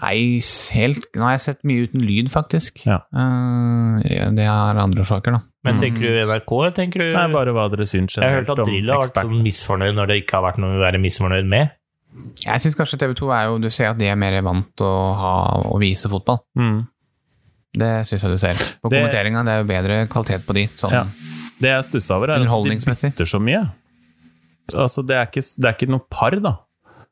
S2: Nei, s- helt Nå har jeg sett mye uten lyd, faktisk.
S1: Ja.
S2: Eh, ja, det er andre årsaker, da.
S3: Men tenker du NRK, eller tenker du
S1: Mm. Nei, bare hva dere syns
S3: Jeg har hørt
S1: generelt
S3: at
S1: om
S3: Drillo har vært
S1: ekspert-
S3: sånn misfornøyd når det ikke har vært noe å være misfornøyd med.
S2: Jeg syns kanskje TV 2 er jo Du ser at de er mer vant til å, ha, å vise fotball.
S1: Mm.
S2: Det syns jeg du ser. På
S1: Det-
S2: kommenteringa det er jo bedre kvalitet på de. Sånn.
S1: Ja. Det jeg stussa over, er at de
S2: Underholdningsmessig.
S1: bytter så mye. Altså, det er ikke, det er ikke noe par, da.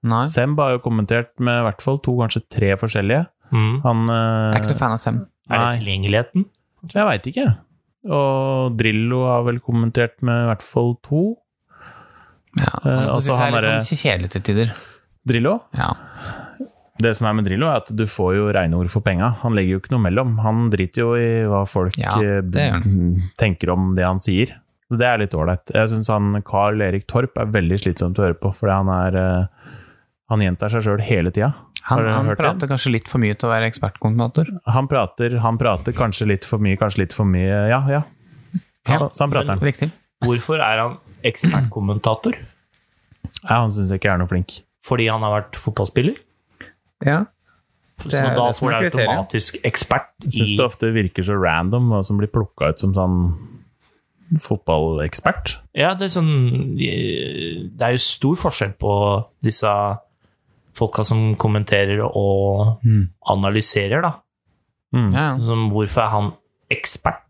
S2: Nei.
S1: Semb har jo kommentert med i hvert fall to, kanskje tre forskjellige.
S3: Mm.
S1: Han eh,
S2: Jeg er ikke noe fan av Sem.
S3: Er det
S1: Nei.
S3: tilgjengeligheten?
S1: Jeg veit ikke. Og Drillo har vel kommentert med i hvert fall to.
S2: Ja, han,
S1: Eh, altså,
S2: synes jeg
S1: han
S2: er
S1: er-
S2: litt sånn kjedelig til tider.
S1: Drillo?
S2: Ja.
S1: Det som er med Drillo, er at du får jo rene ord for penga. Han legger jo ikke noe mellom. Han driter jo i hva folk
S2: Ja,
S1: eh,
S2: det gjør
S1: tenker om det han sier. Så Det er litt ålreit. Jeg syns han Carl Erik Torp er veldig slitsomt å høre på, fordi han er eh, Han gjentar seg sjøl hele tida. Har
S2: Han,
S1: du
S2: han
S1: hørt det?
S2: prater kanskje litt for mye til å være ekspertkommentator.
S1: Han prater, han prater kanskje litt for mye, kanskje litt for mye Ja, ja.
S2: Ja.
S1: Så, sånn prater han.
S2: Riktig.
S3: Hvorfor er han ekspertkommentator?
S1: Ja, han syns ikke jeg er noe flink.
S3: Fordi han har vært fotballspiller?
S2: Ja.
S3: Så
S2: Det er
S3: da
S2: det som
S3: får
S2: er
S3: du
S2: kriteriet.
S3: automatisk ekspert
S1: Jeg syns
S3: i
S1: det ofte virker så random hva som blir plukka ut som sånn fotballekspert.
S3: Ja, det er sånn Det er jo stor forskjell på disse folka som kommenterer og
S2: Mm.
S3: analyserer, da.
S1: Mm.
S2: Ja, ja.
S3: Som hvorfor er han ekspert?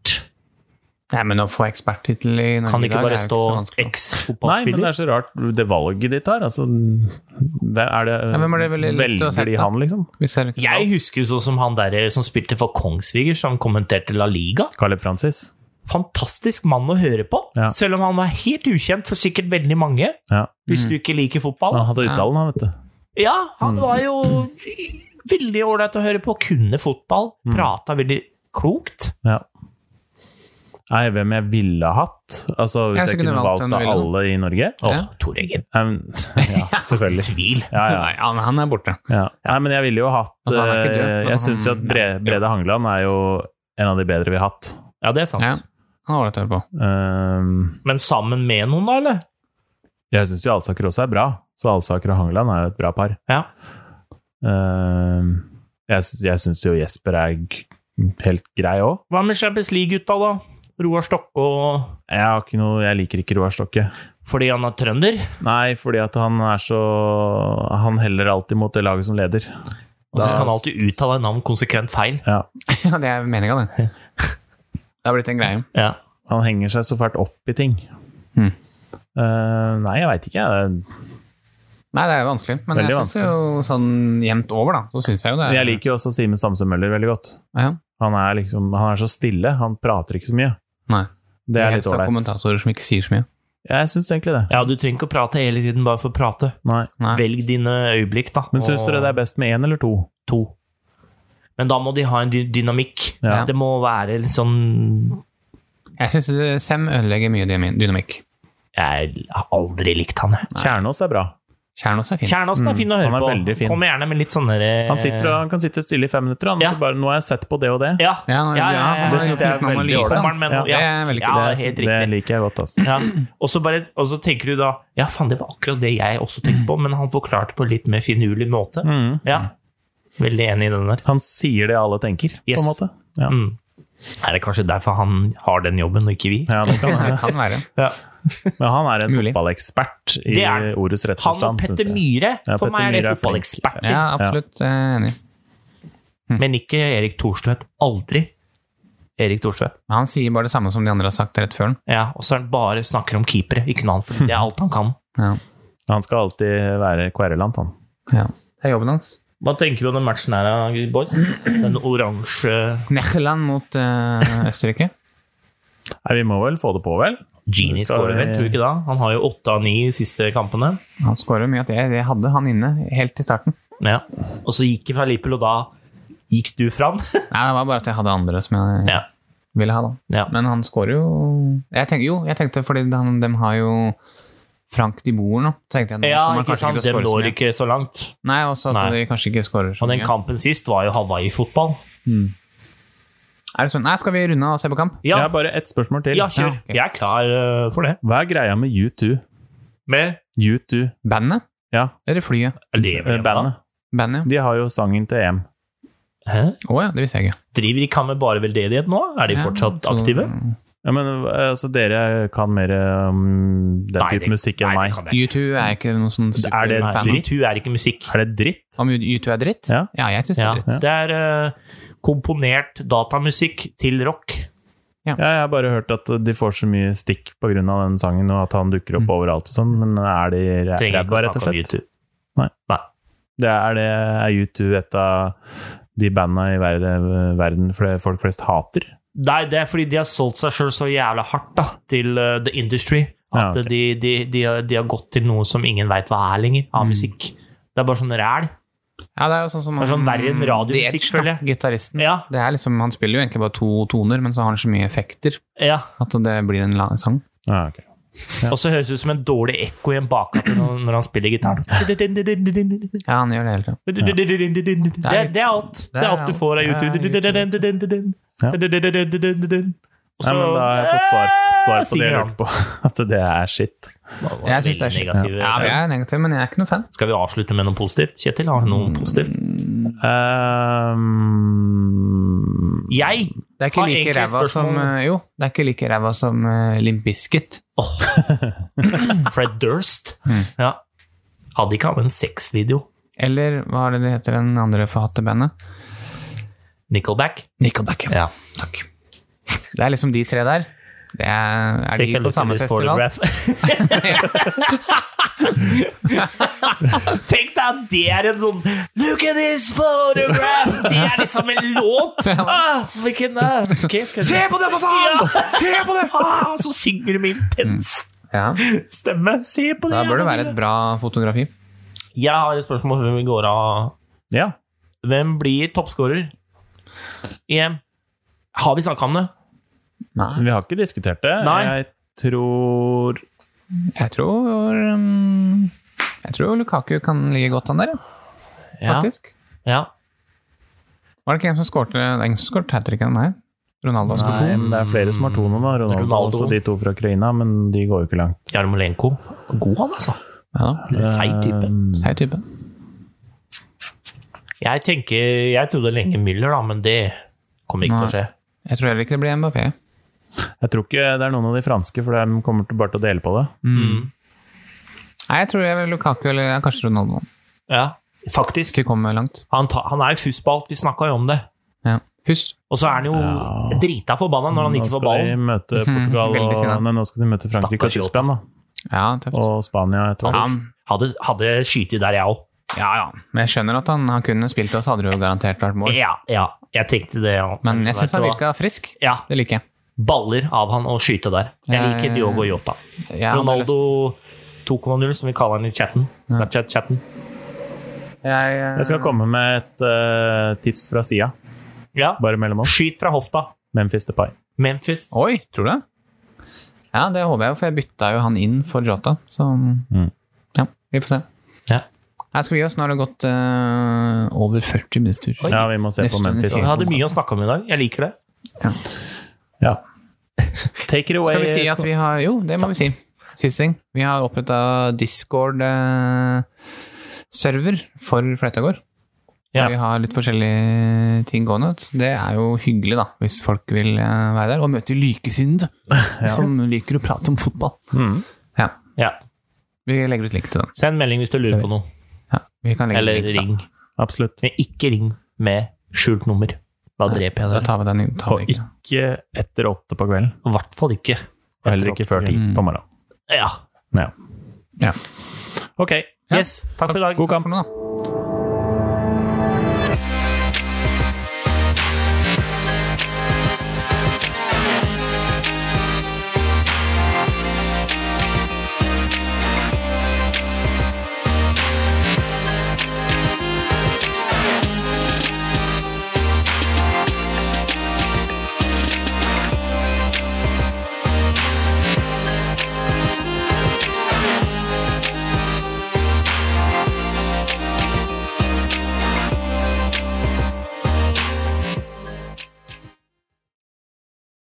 S2: Nei, men å få eksperttittel i Norge
S3: Kan det
S2: i
S3: ikke
S2: dag
S3: bare
S2: er jo
S3: stå
S2: så vanskelig.
S1: Nei, men det
S3: eks-fotballspiller?
S1: er så rart det valget ditt har. Altså, det er det,
S2: Ja, hvem er det veldig likt
S1: velger
S2: å sette,
S1: de
S2: da?
S1: han, liksom?
S2: Hvis jeg-
S3: Jeg husker jo sånn som han der som spilte for Kongsviger, som kommenterte La Liga.
S1: Caleb Francis.
S3: Fantastisk mann å høre på,
S1: Ja.
S3: selv om han var helt ukjent for sikkert veldig mange.
S1: Ja.
S3: Hvis du ikke liker fotball.
S1: Mm. Han hadde uttalen, han, vet du.
S3: Ja,
S2: Mm.
S3: han var jo veldig
S1: Mm.
S3: ålreit å høre på. Kunne fotball. Prata veldig klokt.
S1: Ja. Nei, hvem jeg ville hatt? Altså,
S2: Ja,
S1: hvis
S2: så
S1: jeg kunne
S2: kunne du
S1: valgt
S2: valgt den du
S1: av
S2: ville.
S1: alle i Norge?
S3: Åh,
S2: Ja.
S3: Tor Eggen.
S1: Um, ja, selvfølgelig.
S3: Tvil.
S1: Ja, ja.
S2: Nei, ja, men han er borte.
S1: Ja. Nei, men jeg ville jo hatt
S2: Altså, han er ikke død,
S1: eh,
S2: men
S1: Jeg
S2: han-
S1: syns jo at Bre Brede Hangeland er jo en av de bedre vi har hatt.
S3: Ja, det er sant.
S2: Ja, han var det tørre på.
S1: Um,
S3: Men sammen med noen, da, eller?
S1: jeg syns jo Alsaker også er bra, så Alsaker og Hangeland er jo et bra par.
S3: Ja.
S1: Um, jeg sy- jeg syns jo Jesper er g- helt grei òg.
S3: Hva med Champions League-gutta, da? Roar Stokke og
S1: Jeg, har ikke noe- jeg liker ikke Roar Stokke.
S3: Fordi han er trønder?
S1: Nei, fordi at han er så Han heller alltid mot det laget som leder.
S3: Og så skal han alltid uttale navn konsekvent feil.
S1: Ja.
S2: Ja, det er meninga, det. Det har blitt en greie.
S3: Ja.
S1: Han henger seg så fælt opp i ting.
S2: Hmm.
S1: Eh, nei, jeg veit ikke. jeg.
S2: Nei, det er jo vanskelig, men
S1: Veldig
S2: jeg syns jo sånn jevnt over, da, så syns jeg jo det.
S1: Men
S2: er-
S1: jeg liker jo også Simen Samsø Møller veldig godt.
S2: ja.
S1: Han er, liksom, han er så stille. Han prater ikke så mye.
S2: Nei.
S1: Det er litt
S2: helst av
S1: ålreit.
S2: kommentatorer som ikke sier så mye.
S1: Jeg syns egentlig det.
S3: ja, du trenger ikke å prate hele tiden bare for å prate.
S1: Nei.
S2: Nei.
S3: Velg dine øyeblikk, da.
S1: Men syns dere det er best med én eller to?
S3: to? Men da må de ha en dy dynamikk.
S1: Ja.
S3: Det må være litt sånn
S2: Jeg syns Sem ødelegger mye dynamin- dynamikk.
S3: Jeg har aldri likt han, jeg.
S1: Kjernås er bra.
S2: Kjernås er fin.
S3: Kjernåsen er fin å
S1: Mm,
S3: høre
S1: han er
S3: på.
S1: veldig fin.
S3: Kom gjerne med litt sånne eh,
S1: Han, sitter, og- han kan sitte stille i fem minutter, han, og
S3: Ja.
S1: så bare 'Nå har jeg sett på det og det'.
S3: Ja,
S2: Ja, ja, ja, han
S1: det
S2: har
S1: synes
S2: gjort
S1: jeg er veldig
S2: noen analyser,
S1: ålreit.
S2: sant?
S3: Sommeren, men-
S1: Ja,
S2: Det
S3: ja.
S2: er veldig
S3: Ja,
S2: kult.
S3: det
S1: det,
S3: er helt
S1: det
S3: riktig.
S1: liker jeg godt, altså. ass.
S3: Ja. Og, så bare, og så tenker du da Ja, faen, det var akkurat det jeg også tenkte på, men han forklarte på litt mer finurlig måte.
S1: Mm.
S3: Ja. Veldig enig i den der.
S1: Han sier det alle tenker,
S3: Yes.
S1: på en måte. Ja,
S3: Mm. Er det kanskje derfor han har den jobben, og ikke vi?
S1: ja det kan
S2: Ja,
S1: være.
S2: det kan være.
S1: Men han er en
S2: Mulig.
S1: fotballekspert i
S3: Det er han.
S1: ordets rette
S3: Han og
S1: forstand.
S3: Petter
S1: synes jeg.
S3: Myhre,
S1: Ja,
S3: for
S1: Petter
S3: meg
S1: Myhre
S3: er det
S1: er flink.
S3: fotballeksperter.
S2: Ja, absolutt eh, enig.
S3: Men ikke Erik Thorstvedt. Aldri Erik Thorstvedt.
S2: Men Han sier bare det samme som de andre har sagt rett før. den.
S3: Ja, og så er han bare snakker om keepere, ikke noe annet. For det er alt han kan.
S2: Ja.
S1: Han skal alltid være kverulant, han.
S2: Ja. Det er jobben hans.
S3: Hva tenker du om den matchen her, da, boys? Den oransje
S2: Necheland mot eh, Østerrike.
S1: Nei, vi må vel få det på, vel?
S3: Genie
S1: Skal
S3: skårer,
S1: vi-
S3: vel? Tror du ikke da? Han har jo åtte av ni i siste kampene.
S2: Han skårer mye. at Jeg, jeg hadde han inne helt til starten.
S3: Ja. Og så gikk det fra Lippel, og da gikk du fram.
S2: Nei, det var bare at jeg hadde andre som jeg
S3: Ja.
S2: ville ha, da.
S3: Ja.
S2: Men han skårer jo jeg tenker, Jo, jeg tenkte fordi han, de har jo Frank de Boer nå. Så tenkte jeg nå
S3: Ja,
S2: kommer han
S3: ikke
S2: kanskje
S3: sant?
S2: til å
S3: Den
S2: score så
S3: når
S2: mye.
S3: ikke så langt.
S2: Nei, og så at
S3: Nei.
S2: de kanskje ikke skårer så
S3: Og den
S2: mye.
S3: kampen sist var jo Hawaii-fotball.
S2: Er det sånn, Nei, skal vi runde av og se på kamp?
S1: Jeg
S3: Ja,
S1: har bare ett spørsmål til.
S3: ja,
S2: Ja,
S3: kjør.
S2: ok.
S3: Jeg er klar øh, for det.
S1: Hva er greia med U2?
S3: Med
S1: U2,
S2: Bandet?
S1: ja,
S2: Eller flyet?
S1: eh, bandet.
S2: Bandet, ja.
S1: De har jo sangen til E EM.
S3: Hæ?
S2: Å ja, det visste jeg ikke.
S3: Driver de kan med bare veldedighet nå? Er de
S2: Ja,
S3: fortsatt
S2: så-
S3: aktive?
S1: Ja, men eh, altså, dere kan mer eh, om den
S3: Nei, det-
S1: type musikk enn
S3: nei,
S1: meg.
S3: det kan jeg ikke.
S2: U2 er ikke noen sånn
S1: Er det
S2: superfan.
S1: dritt?
S3: U2 er ikke musikk.
S1: Er det dritt?
S2: Om U2 er dritt?
S1: Ja.
S2: jeg syns det
S3: Ja,
S2: er dritt.
S3: det er eh, komponert datamusikk til rock.
S1: Ja, jeg har bare hørt at de får så mye stikk pga. den sangen, og at han dukker opp overalt og sånn, men er de ræ-
S3: Trenger ikke
S1: ræva,
S3: å
S1: rett og
S3: snakke om
S1: slett?
S3: YouTube.
S1: Det er, det, er U2 et av de banda i verden, verden fle- folk flest hater?
S3: Nei, det er fordi de har solgt seg sjøl så jævla hardt da, til eh, the industry.
S1: Ja,
S3: At
S1: ok.
S3: eh, de, de, de, har, de har gått til noe som ingen veit hva er lenger,
S1: Mm.
S3: av musikk. Det er bare sånn ræl.
S2: Ja, det er jo sånn som
S3: Det er sånn verre enn radiomusikk,
S2: The Edge,
S3: føler
S2: da,
S1: Mm.
S2: Gitaristen.
S3: Ja.
S2: Det er liksom, han spiller jo egentlig bare to toner, men så har han så mye effekter
S3: Ja.
S2: at det blir en lang sang.
S1: Ah, ok.
S3: Og så høres det ut som en dårlig ekko i en bakgate når, når han spiller gitar. Det er, det,
S2: Ja, han gjør det hele tida.
S3: er, det er alt. Det er alt du får av YouTube.
S1: Ja.
S3: Og
S1: Nei, men da har jeg fått svar, svar på det jeg
S3: eh, Sier han.
S1: lurte på. At det er shit.
S2: Jeg synes det er skitt.
S3: Negative-
S2: Ja, men jeg er negativ, men jeg er ikke noe fan.
S3: Skal vi avslutte med noe positivt? Kjetil, har
S1: Mm.
S3: du noe positivt?
S1: Ehm,
S3: Jeg
S2: Det er ikke
S3: Har
S2: like
S3: egentlig
S2: ræva som
S3: spørsmål-
S2: eh, Jo, det er ikke like ræva som uh, Limp Bizkit.
S3: Fred Durst.
S1: Mm.
S3: Ja. Hadde ikke han en sexvideo?
S2: Eller hva er det det heter den andre forhatte bandet?
S3: Nickelback?
S2: Nickelback.
S3: Ja.
S2: Takk. Det er liksom de tre der. Det er, er
S3: Take
S2: de
S3: a
S2: på
S3: look at
S2: samme
S3: this
S2: festival?
S3: photograph. Tenk deg at det er en sånn Look at this photograph! Det er liksom en låt! Ah, hvilken ah, ok, skal jeg-
S2: på det, for faen! Se på det!
S3: Ah, så synger de med intens
S2: Ja,
S3: stemme. Se på det!
S2: Da bør det
S3: jævla
S2: være et
S3: bildet.
S2: bra fotografi.
S3: Jeg har et spørsmål før vi går av
S1: ja.
S3: Hvem blir toppskårer? EM. Har vi snakka om det?
S2: Nei.
S1: Vi har ikke diskutert det.
S3: Nei.
S1: Jeg tror
S2: Jeg tror um, Jeg tror Lukaku kan ligge godt an der, ja,
S3: Ja,
S2: faktisk.
S3: ja.
S2: Var det ikke en som skårte Det er ingen som skårte hat trick enn her? Ronaldo har skåret
S1: Nei,
S2: to.
S1: men det er flere som har to nå. da. Ronaldo,
S3: Ronaldo.
S1: også de to fra Ukraina, men de går jo ikke langt.
S3: Jarmolenko. God han, altså.
S2: Ja da.
S3: Seig type.
S1: Eh,
S2: Seig type.
S3: Jeg tenker, jeg trodde lenge Müller, da, men det kommer ikke til å skje.
S2: Jeg tror heller ikke det blir Mbappé.
S1: Jeg tror ikke det er noen av de franske, for de kommer til bare til å dele på det.
S3: Mm.
S2: Nei, jeg tror jeg vil Lukaku eller ja, kanskje Ronaldo.
S3: Ja, faktisk.
S2: Hvis de kommer langt.
S3: Han, ta, han er jo fussball, vi snakka jo om det.
S2: Ja. Først.
S3: Og så er han jo
S1: Ja.
S3: drita forbanna når han
S1: Nå
S3: ikke får
S1: skal de
S3: ballen.
S1: møte Portugal
S2: Mhm, Veldig
S1: og,
S2: sinna.
S1: nei, nå skal de møte Frankrike og
S3: Stakkars
S1: Tyskland da.
S2: Ja, tøft.
S1: og Spania etter hvert.
S2: Han-
S3: Hadde, hadde skytet der, jeg òg.
S2: ja, ja. Men jeg skjønner at han, han kunne spilt oss, hadde det jo garantert vært mål.
S3: Ja, ja, jeg tenkte det, ja.
S2: Men jeg syns
S3: Vet
S2: han
S3: du hva?
S2: virka frisk.
S3: Ja,
S2: Det liker jeg.
S3: baller av han å skyte der. Jeg
S2: Ja, ja,
S3: liker
S2: ja.
S3: Diogo Jota.
S2: Jeg hadde lyst-
S3: Ronaldo 2,0, som vi kaller han i chatten. Snapchat-chatten.
S2: Jeg, eh,
S1: Jeg skal komme med et eh, tips fra sida,
S3: Ja,
S1: bare mellom oss.
S3: skyt fra hofta.
S1: Memphis Depay.
S3: Memphis.
S2: Oi, tror du det? Ja, det håper jeg jo, for jeg bytta jo han inn for Jota. Så ja, vi får se.
S3: Mm. Ja.
S2: Her skal vi gi oss. Nå har det gått eh, over 40 minutter.
S1: Ja, vi må se på
S2: Nesten
S1: Memphis.
S2: ikke.
S3: Vi hadde mye å snakke om i dag. Jeg liker det.
S1: Ja. Take it away.
S2: Skal vi si at vi har Jo, det må vi si. Siste ting. Vi har oppretta Discord-server for Fløytegård.
S3: Ja.
S2: Vi har litt forskjellige ting gående. så Det er jo hyggelig, da, hvis folk vil eh, være der. Og møte likesinnede som liker å prate om fotball.
S1: Mm.
S2: Ja,
S3: Ja.
S2: Vi legger ut link til den.
S3: Send melding hvis du lurer på noe.
S2: Ja, vi kan legge
S3: Eller
S2: ut link, da.
S3: ring.
S1: Absolutt.
S3: Men ikke ring med skjult nummer. Da dreper
S2: Da
S3: jeg deg.
S2: tar vi den. inn- Tar
S1: Og
S2: vi den.
S1: ikke etter åtte på kvelden,
S3: I hvert fall ikke.
S1: og heller ikke før ti på morgenen.
S3: Ja.
S1: Ja.
S2: Ja.
S1: Ok.
S2: Ja.
S3: Yes. Takk for i dag.
S2: God kamp for nå, da.